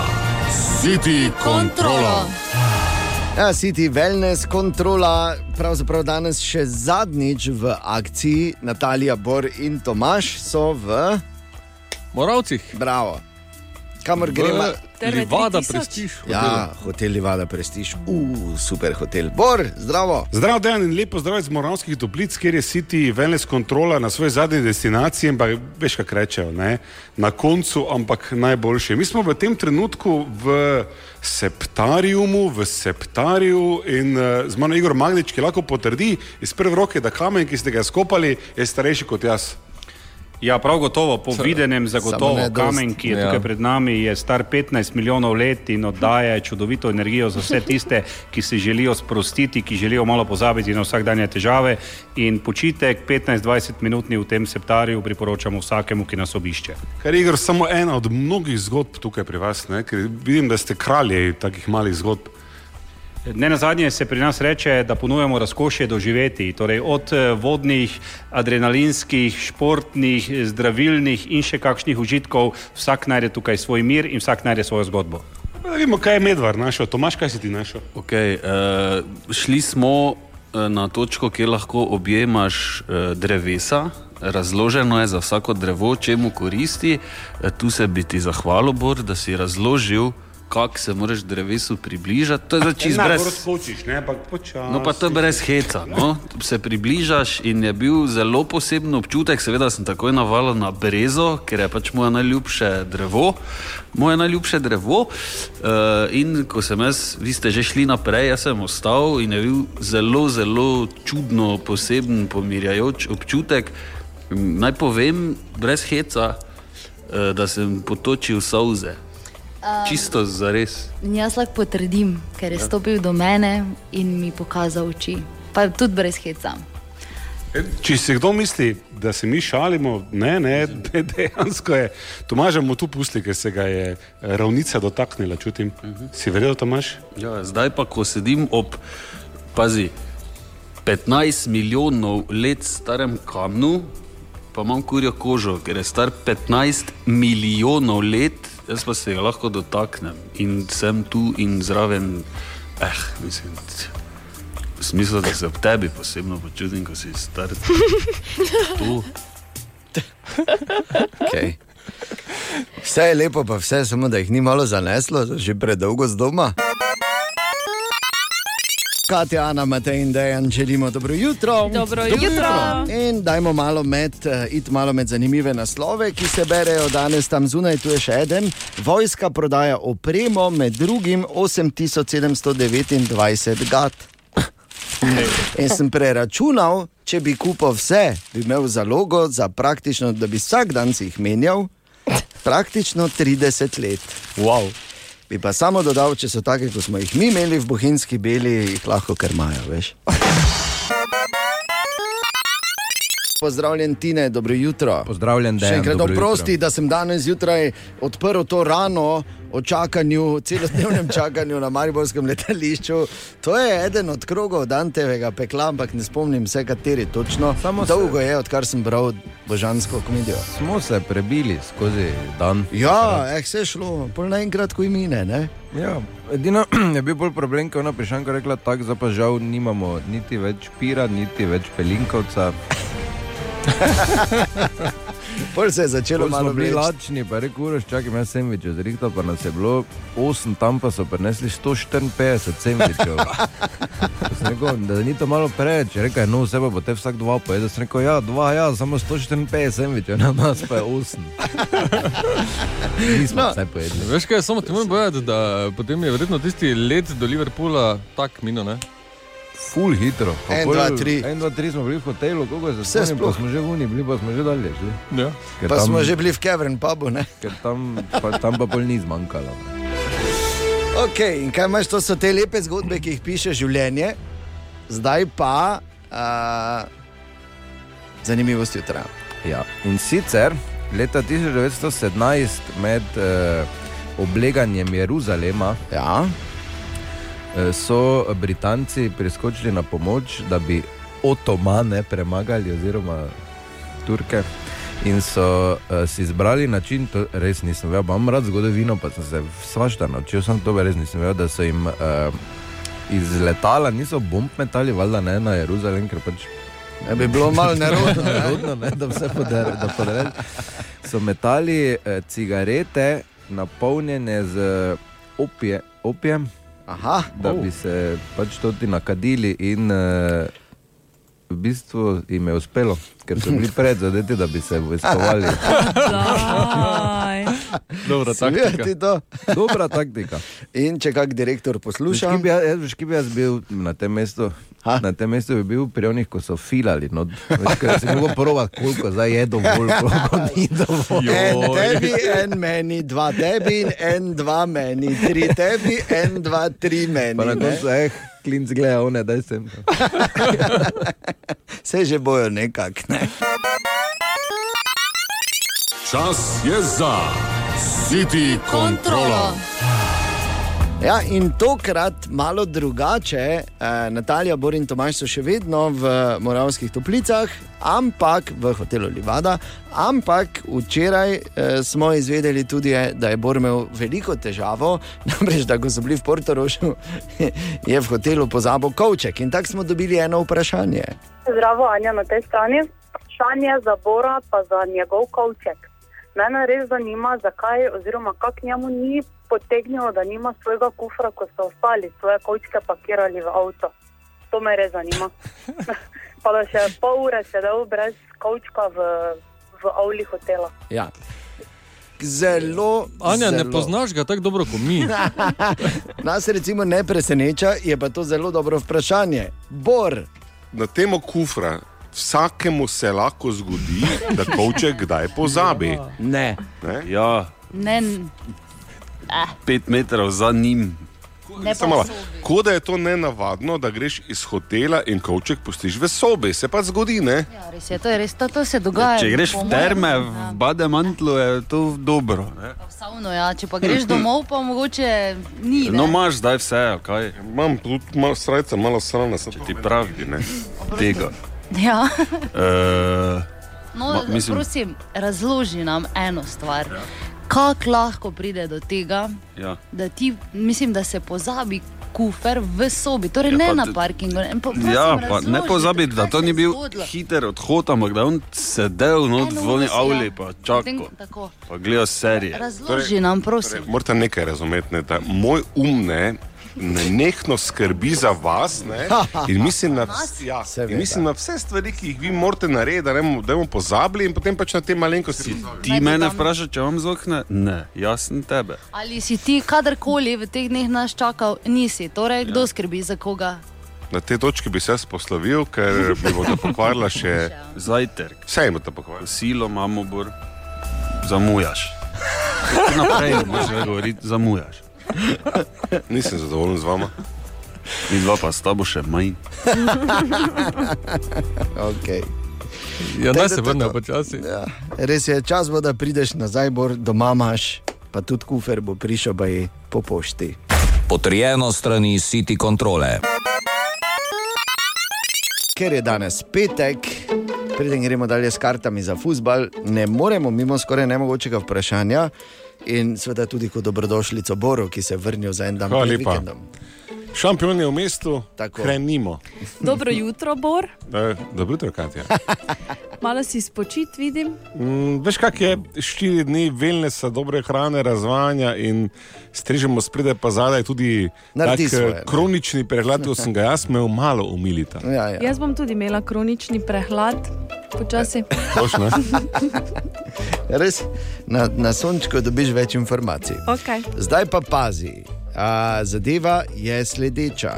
Speaker 7: City kontrolo.
Speaker 1: No. Ja, City Wellness kontrola, pravzaprav danes še zadnjič v akciji Natalija Bor in Tomaš so v
Speaker 5: Moravcih.
Speaker 1: Bravo. Kamor gremo?
Speaker 5: Livada prestiž.
Speaker 1: Ja, hotel Livada Prestiž, uh, super hotel. Bor, zdravo.
Speaker 3: Zdrav dan in lepo zdrav iz Moravskih toplic, kjer je City Wellness kontrola na svoji zadnji destinaciji, ampak veš, kaj rečejo, ne? na koncu, ampak najboljše. Mi smo v tem trenutku v septariumu, v septariju in eh, z mano Igor Magnič, ki lahko potrdi iz prve roke, da kamen, ki ste ga skopali, je starejši kot jaz.
Speaker 21: Ja, prav gotovo, po
Speaker 22: Seveda.
Speaker 21: videnem
Speaker 22: Samo
Speaker 21: zagotovo
Speaker 22: ne dosti.
Speaker 21: kamen, ki je
Speaker 22: Ja.
Speaker 21: tukaj pred nami, je star 15 milijonov let in oddaje čudovito energijo za vse tiste, ki se želijo sprostiti, ki želijo malo pozabiti na vsakdanje težave. In počitek 15-20 minutni v tem septarju priporočamo vsakemu, ki nas obišče.
Speaker 3: Ker je igr samo ena od mnogih zgodb tukaj pri vas, ne? ker vidim, da ste kralji takih malih zgodb.
Speaker 21: Ne na zadnje se pri nas reče, da ponujamo razkošje doživeti, torej od eh, vodnih, adrenalinskih, športnih, eh, zdravilnih in še kakšnih užitkov. Vsak najde tukaj svoj mir in vsak najde svojo zgodbo.
Speaker 3: Da vidimo, kaj je medvar našel. Tomaš, kaj si ti našel?
Speaker 9: Okay, uh, eh, šli smo eh, na točko, kjer lahko objemaš uh, drevesa. Razloženo je za vsako drevo, če mu koristi. Eh, Tu se bi ti zahvalil, Bor, da si razložil, kako se moraš drevesu približati. To je zdaj čisto brez.
Speaker 3: E, skočiš, ne, ampak počasi.
Speaker 9: No, pa to je brez heca. No. Se približaš in je bil zelo poseben občutek. Seveda sem takoj navalil na brezo, ker je pač moje najljubše drevo. Moje najljubše drevo. Uh, in ko sem jaz, vi ste že šli naprej, jaz sem ostal in je bil zelo, zelo čudno, poseben, pomirjajoč občutek. Mm, Naj povem, brez heca, uh, da sem potočil solze.
Speaker 8: Um,
Speaker 9: Čisto zares.
Speaker 8: In jaz lahko potrdim, ker je
Speaker 9: Ja.
Speaker 8: stopil do mene in mi pokazal oči. Pa tudi brez heca.
Speaker 3: E, Če si kdo misli, da se mi šalimo, ne, ne, de, dejansko je. Tomaža mu tu pusti, ker se ga je eh, ravnica dotaknila, čutim. Si verjel, Tomaš?
Speaker 9: Ja, zdaj pa, ko sedim ob, pazi, 15 milijonov let starem kamnu, pa imam kurjo kožo, ker je star 15 milijonov let, jaz pa se ga lahko dotaknem in sem tu in zraven, eh, mislim. t- V smislu, da se ob tebi posebno počutim, ko si star. Tu.
Speaker 1: Okay. Vse je lepo, pa vse, samo da jih ni malo zaneslo, že predolgo z doma. Katja, Ana, Matej in Dejan, želimo dobro jutro.
Speaker 6: Dobro jutro.
Speaker 1: In dajmo malo med, eh, it malo med zanimive naslove, ki se berejo danes tam zunaj. Tu je še en. Vojska prodaja opremo, med drugim 8729 gat. In sem preračunal, če bi kupil vse, bi imel zalogo za praktično, da bi vsak dan si jih menjal, praktično 30 let. Wow. Bi pa samo dodal, če so take, kot smo jih mi imeli v Bohinjski beli, jih lahko krmajo, veš. Pozdravljen, Tine, dobro jutro.
Speaker 2: Pozdravljen, da
Speaker 1: Še enkrat
Speaker 2: dobro jutro.
Speaker 1: oprosti, da sem danes zjutraj odprl to rano o čakanju, celodnevnem čakanju na Mariborskem letališču. To je eden od krogov Dantevega pekla, ampak ne spomnim se, kateri točno. Samo Dolgo je, odkar sem bral božansko komedijo.
Speaker 2: Smo se prebili skozi dan.
Speaker 1: Ja, eh, se je šlo, pol naenkrat, ko imine. Ne?
Speaker 2: Ja, edino je bil bolj problem, ker je ona prišanka rekla, tako za pa žal nimamo niti več pira, niti več pelinkovca.
Speaker 1: Pol se je začelo
Speaker 2: Ja. Pol smo
Speaker 1: malo
Speaker 2: bili
Speaker 1: vleči.
Speaker 2: lačni, pa reko, uroš, čakaj, jaz sendviče zrihtal, pa nas je bilo 8, tam pa so prinesli 154 sendvičev. Pa sem Rekel, da ni to malo preveč, Je rekel je, no vse pa bo te vsak dva pojedel. Sem rekel, ja, dva, ja, samo 154 sendvičev, na nas pa je 8. Nismo vse pojedli.
Speaker 5: No. Veš kaj, samo ti moram povedati, da potem je verjetno tisti let do Liverpoola tak mino, ne?
Speaker 2: Ful hitro. Pa
Speaker 5: En,
Speaker 2: pol-
Speaker 5: dva, tri.
Speaker 2: En, dva, tri smo bili v hotelu, koliko se
Speaker 1: Vse
Speaker 2: spomnim, pa
Speaker 1: sploh.
Speaker 2: smo že vuni, bili pa smo že dalje. Že.
Speaker 5: Ja.
Speaker 2: Ker
Speaker 1: Pa
Speaker 2: tam-
Speaker 1: smo že bili v Kevern pubu. Ne?
Speaker 2: Ker tam pa, tam pa pol ni zmanjkalo.
Speaker 1: Okay, in kaj imaš, to so te lepe zgodbe, ki jih piše življenje, zdaj pa uh, zanimivost jutra.
Speaker 2: Ja. In sicer leta 1917 med eh, obleganjem Jeruzalema
Speaker 1: ja.
Speaker 2: eh, so Britanci priskočili na pomoč, da bi otomane premagali, oziroma Turke. In so uh, si izbrali način, to res nisem vedel, pa imam rad zgodovino, pa sem se svašta naučil, sem to res nisem vedel, da so jim uh, iz letala, niso bomb metali, valjda ne na Jeruzalem, ker pač
Speaker 1: Ne bi bilo malo nerodno, ne?
Speaker 2: nerodno ne, da vse podere- da podere. So metali eh, cigarete, napolnjene z opije, opijem,
Speaker 1: Aha,
Speaker 2: da bi se pač tudi nakadili, in eh, v bistvu jim je uspelo. ker so bili predzadeti, da bi se vojskovali.
Speaker 5: Dobra
Speaker 2: taktika.
Speaker 23: Dobra
Speaker 2: taktika.
Speaker 23: In če kak direktor
Speaker 2: Veš,
Speaker 23: posluša,
Speaker 2: kje bi jaz- jaz- Veš, kje bi jaz bil na tem mestu? Ha? Na tem mestu bi bil pri onih, ko so filali. No, veš, ko si mogel provati, koliko zdaj je dovolj, koliko ni dovolj.
Speaker 23: En "E, tebi, en meni, dva tebi, in en, dva meni, tri tebi, en, dva, tri meni.
Speaker 2: Pa na
Speaker 23: ne?
Speaker 2: koncu, eh, klinc gleda, one, daj sem.
Speaker 23: Se že bojo nekako. Ne?
Speaker 7: Čas je za City kontrolo.
Speaker 1: Ja, in tokrat malo drugače. Eh, Natalija, Bor in Tomaš so še vedno v Moravskih toplicah, ampak v hotelu Livada. Ampak včeraj eh, smo izvedeli tudi, eh, da je Bor imel veliko težavo, namreč da ko so bili v Portorožu, je v hotelu pozabil kovček. In tako smo dobili eno vprašanje.
Speaker 22: Zdravo, Anja na tej strani. Vprašanje za Bora, pa za njegov kovček. Mene res zanima, zakaj, oziroma kako njemu ni potegnilo, da nima svojega kufra, ko so ostali svoje kovčke pakirali v avto. To me res zanima. pa da še pol ure sedel brez kovčka v, v avli hotela.
Speaker 1: Ja. Zelo.
Speaker 5: Anja,
Speaker 1: zelo.
Speaker 5: ne poznaš ga tako dobro kot mi.
Speaker 1: Nas recimo ne preseneča, je pa to zelo dobro vprašanje. Bor,
Speaker 3: Na temo kufra, vsakemu se lahko zgodi, da kovček kdaj pozabi.
Speaker 1: Ne.
Speaker 3: ne?
Speaker 9: Ja,
Speaker 8: Ne, n-
Speaker 9: pet metrov za njim.
Speaker 8: ne
Speaker 3: Samo malo.
Speaker 8: pa sobi.
Speaker 3: Kot da je to nenavadno, da greš iz hotela in kovček pustiš v sobi, se pa zgodi, ne?
Speaker 8: Ja, res je, to je res, to, to se dogaja.
Speaker 9: Če greš
Speaker 8: po
Speaker 9: v
Speaker 8: mojem,
Speaker 9: terme,
Speaker 8: ja.
Speaker 9: v bademantlu, je to dobro. Ne?
Speaker 8: Savno, ja. Če pa greš domov, pa mogoče ni. Ne?
Speaker 9: No, imaš zdaj vse, ali kaj.
Speaker 3: Imam tudi malo srca, malo srca, se ti
Speaker 9: pravi, ne. Tega.
Speaker 8: Ja.
Speaker 9: Uh,
Speaker 8: No,
Speaker 9: Ma- mislim-
Speaker 8: prosim, razloži nam eno stvar. Ja. Kako lahko pride do tega,
Speaker 9: ja.
Speaker 8: da ti, mislim, da se pozabi kufer v sobi, torej
Speaker 9: Ja,
Speaker 8: ja, ne
Speaker 9: pa
Speaker 8: na
Speaker 9: tudi-
Speaker 8: parkingu. ne, Pa, prosim,
Speaker 9: Ja, pa
Speaker 8: razloži,
Speaker 9: ne pozabi, da
Speaker 8: kaj
Speaker 9: to
Speaker 8: se
Speaker 9: ni
Speaker 8: je
Speaker 9: bil
Speaker 8: zgodilo?
Speaker 9: hiter odhod, ampak da je on sedel no,
Speaker 8: Eno
Speaker 9: v
Speaker 8: uro
Speaker 9: oni
Speaker 8: si, ja.
Speaker 9: avli, pa
Speaker 8: Potem-
Speaker 9: čakal,
Speaker 8: tako.
Speaker 9: pa gledal serije.
Speaker 8: Razloži torej, nam, prosim.
Speaker 3: Torej, morate nekaj razumeti, ne, da moj um ne. Nenehno skrbi za vas ne, in mislim na, vs- ja, in mislim na vse stvari, ki jih vi morate narediti, da ne bomo- da bomo pozabili, in potem pač na te malenkosti.
Speaker 9: Ti mene vprašaj, če imam zokne? Ne, jaz sem tebe.
Speaker 8: Ali si ti kadarkoli v teh dneh nas čakal, nisi.
Speaker 9: Ja.
Speaker 8: Torej, kdo skrbi za koga?
Speaker 3: Na tej točki bi se jaz poslovil, ker bi bodo pokvarila še
Speaker 9: zajtrk.
Speaker 3: Vse imate pokvarjeno.
Speaker 9: Silo, mamo, bor, zamujaš. Tako Naprej, moraš govoriti, zamujaš.
Speaker 3: Nisem zadovoljen z vama.
Speaker 9: Mi dva pa s tabo še manj.
Speaker 1: okay.
Speaker 5: Ja,
Speaker 1: Tako
Speaker 5: naj
Speaker 1: da
Speaker 5: se
Speaker 1: to
Speaker 5: vrne
Speaker 1: to.
Speaker 5: počasi.
Speaker 1: Ja. Res je čas, bo, da prideš nazaj, bor, doma imaš, pa tudi kufer bo prišel baj po pošti.
Speaker 11: Potrjeno strani City kontrole.
Speaker 1: Ker je danes petek, preden gremo dalje s kartami za fusbal, ne moremo mimo skoraj nemogočega vprašanja. In seveda tudi kot dobrodošlico Boru, ki se je vrnil za en dan
Speaker 3: Hvala
Speaker 1: pred
Speaker 3: lepa.
Speaker 1: vikendom.
Speaker 3: Šampion je v mestu,
Speaker 1: Tako.
Speaker 3: hranimo.
Speaker 6: Dobro jutro, Bor.
Speaker 3: E, Dobro jutro, Katja.
Speaker 6: Malo si spočit, vidim.
Speaker 3: Mm, veš, kak je štiri dni velnesa, dobre hrane, razvajanja in strežemo spredaj, pa zadaj tudi
Speaker 1: Naredi
Speaker 3: tak, eh,
Speaker 1: svoje, ne.
Speaker 3: kronični prehlad, ki sem ga jaz imel malo umilita.
Speaker 1: Ja,
Speaker 6: Ja. Jaz bom tudi imela kronični prehlad, počasi.
Speaker 1: Ja.
Speaker 3: Točno.
Speaker 1: Res, na, na sončku dobiš več informacij.
Speaker 6: Okay.
Speaker 1: Zdaj pa pazi, a, zadeva je sledeča.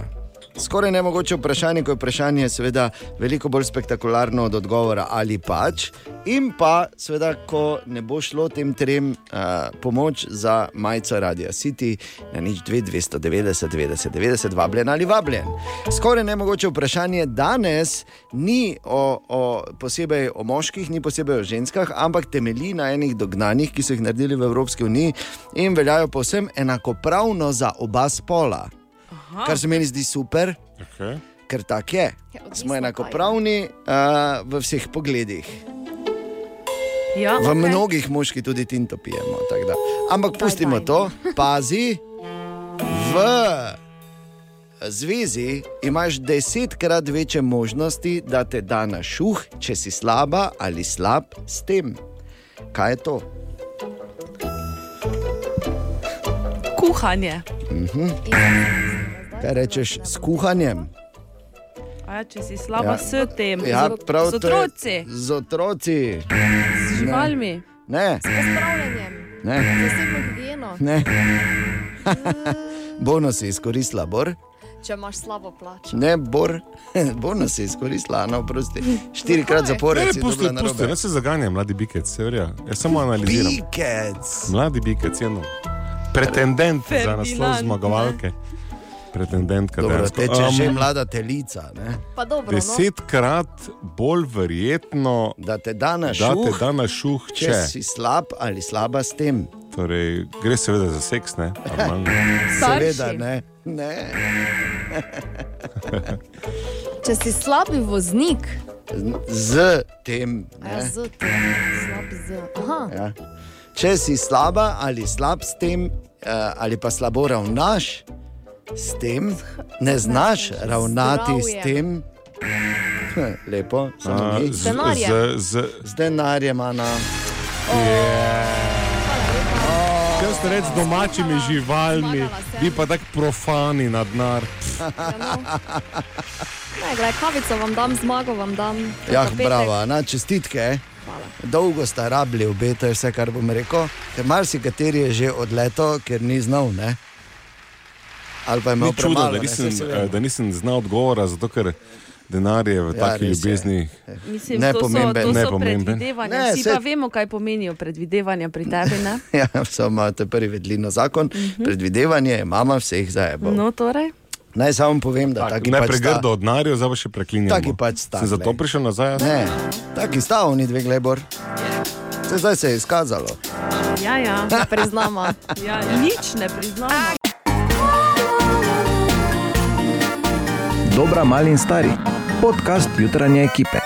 Speaker 1: Skoraj nemogoče vprašanje, ko je vprašanje seveda veliko bolj spektakularno od odgovora ali pač, in pa seveda, ko ne bo šlo tem trem uh, pomoč za majico Radia City na nič 290, 90, 90, vabljen ali vabljen. Skoraj nemogoče vprašanje danes ni o, o, posebej o moških, ni posebej o ženskah, ampak temelji na enih dognanjih, ki so jih naredili v Evropski uniji in veljajo povsem enakopravno za oba spola. Aha. Kar se meni zdi super,
Speaker 3: okay.
Speaker 1: ker tako je. Smo enakopravni uh, v vseh pogledih.
Speaker 6: Ja,
Speaker 1: V mnogih moških tudi tinto pijemo. tako da. Ampak pustimo to, pazi. V zvezi imaš desetkrat večje možnosti, da te da na šuh, če si slaba ali slab s tem. Kaj je to?
Speaker 6: Kuhanje.
Speaker 1: Mhm. Kaj rečeš s kuhanjem?
Speaker 6: A, če si slaba ja. s tem,
Speaker 1: Ja,
Speaker 6: z,
Speaker 1: prav
Speaker 6: z
Speaker 1: to je-
Speaker 6: otroci,
Speaker 1: Z otroci.
Speaker 6: z živalmi.
Speaker 1: Ne.
Speaker 24: Pozdravljenjem.
Speaker 1: Ne.
Speaker 24: Zasebno higieno.
Speaker 1: ne. Bonus je izkoristila, bor.
Speaker 24: Če imaš slabo plačo.
Speaker 1: Ne, bor. Bonus je izkoristila, no, prosti. Štirikrat zapored. si dobila
Speaker 3: pusti, pusti,
Speaker 1: narobe.
Speaker 3: ne se zaganja, mladi bikec, se verja. Jaz samo analiziram.
Speaker 1: Bikec.
Speaker 3: Mladi bikec, eno. Pretendent za naslov
Speaker 24: Ferdinand,
Speaker 3: zmagovalke. Pretendentka
Speaker 1: Dobro,
Speaker 3: dejansko. um,
Speaker 1: teče že
Speaker 3: Am,
Speaker 1: mlada telica. Ne?
Speaker 24: Pa dobro,
Speaker 8: no.
Speaker 3: Desetkrat bolj verjetno,
Speaker 1: da te da na
Speaker 3: Da te
Speaker 1: šuh,
Speaker 3: da na šuh,
Speaker 1: Če,
Speaker 3: če.
Speaker 1: če si slab ali slaba s tem.
Speaker 3: Torej, gre seveda za seks, ne? Normalno.
Speaker 1: Seveda ne. ne.
Speaker 24: no. Če si slabi voznik,
Speaker 1: Z tem.
Speaker 24: a ja
Speaker 1: Ne?
Speaker 24: z tem, slab z. Aha,
Speaker 1: Ja. Če si slaba ali slab s tem, eh, ali pa slabo ravnaš s tem, ne znaš ravnati s
Speaker 24: Zdravje.
Speaker 1: tem. Lepo, samo
Speaker 3: A,
Speaker 1: mi.
Speaker 3: z- Z denarjem. z-
Speaker 1: Z denarjem, Ana.
Speaker 3: Kaj ste reči z domačimi živalmi, vi pa tako profani nad narc.
Speaker 24: ne, gledaj, kavico vam dam, zmago vam dam.
Speaker 1: Ja,
Speaker 24: Za petek.
Speaker 1: bravo, na čestitke. Dolgo sta rabili obe, to je vse, kar bom rekel. Ker marsikateri je že odletel, ker ni znal. Ne? Ali pa je imel
Speaker 3: Ni čudo,
Speaker 1: premalo,
Speaker 3: da
Speaker 1: ne,
Speaker 3: nisem,
Speaker 1: saj se vem.
Speaker 3: eh, da nisem znal odgovora, zato ker denar je v
Speaker 1: Ja,
Speaker 3: taki
Speaker 1: res je.
Speaker 3: ljubezni.
Speaker 6: Mislim,
Speaker 3: Ne
Speaker 6: to so,
Speaker 3: pomemben.
Speaker 6: to
Speaker 3: Ne
Speaker 6: so
Speaker 3: pomemben.
Speaker 6: predvidevanja.
Speaker 1: Ne,
Speaker 6: Vsi
Speaker 1: saj-
Speaker 6: pa vemo, kaj pomenijo predvidevanja pri tebi. Ne?
Speaker 1: Ja, samo to je prvi vedlino zakon. Predvidevanje je mama vseh zajebov.
Speaker 6: No, torej.
Speaker 1: Naj samo povem, da taki
Speaker 3: Ne
Speaker 1: pač
Speaker 3: pregrdo
Speaker 1: sta.
Speaker 3: odnarijo, zdaj pa še preklinjamo.
Speaker 1: Taki pač sta.
Speaker 3: Sem zato
Speaker 1: glej.
Speaker 3: prišel nazaj.
Speaker 1: Ne, taki sta oni dve glebor. Se zdaj se je izkazalo.
Speaker 6: Ja, ja.
Speaker 24: Ne priznamo.
Speaker 6: Ja, nič ne priznamo.
Speaker 2: Dobra, mali in stari. Podcast jutranje ekipe.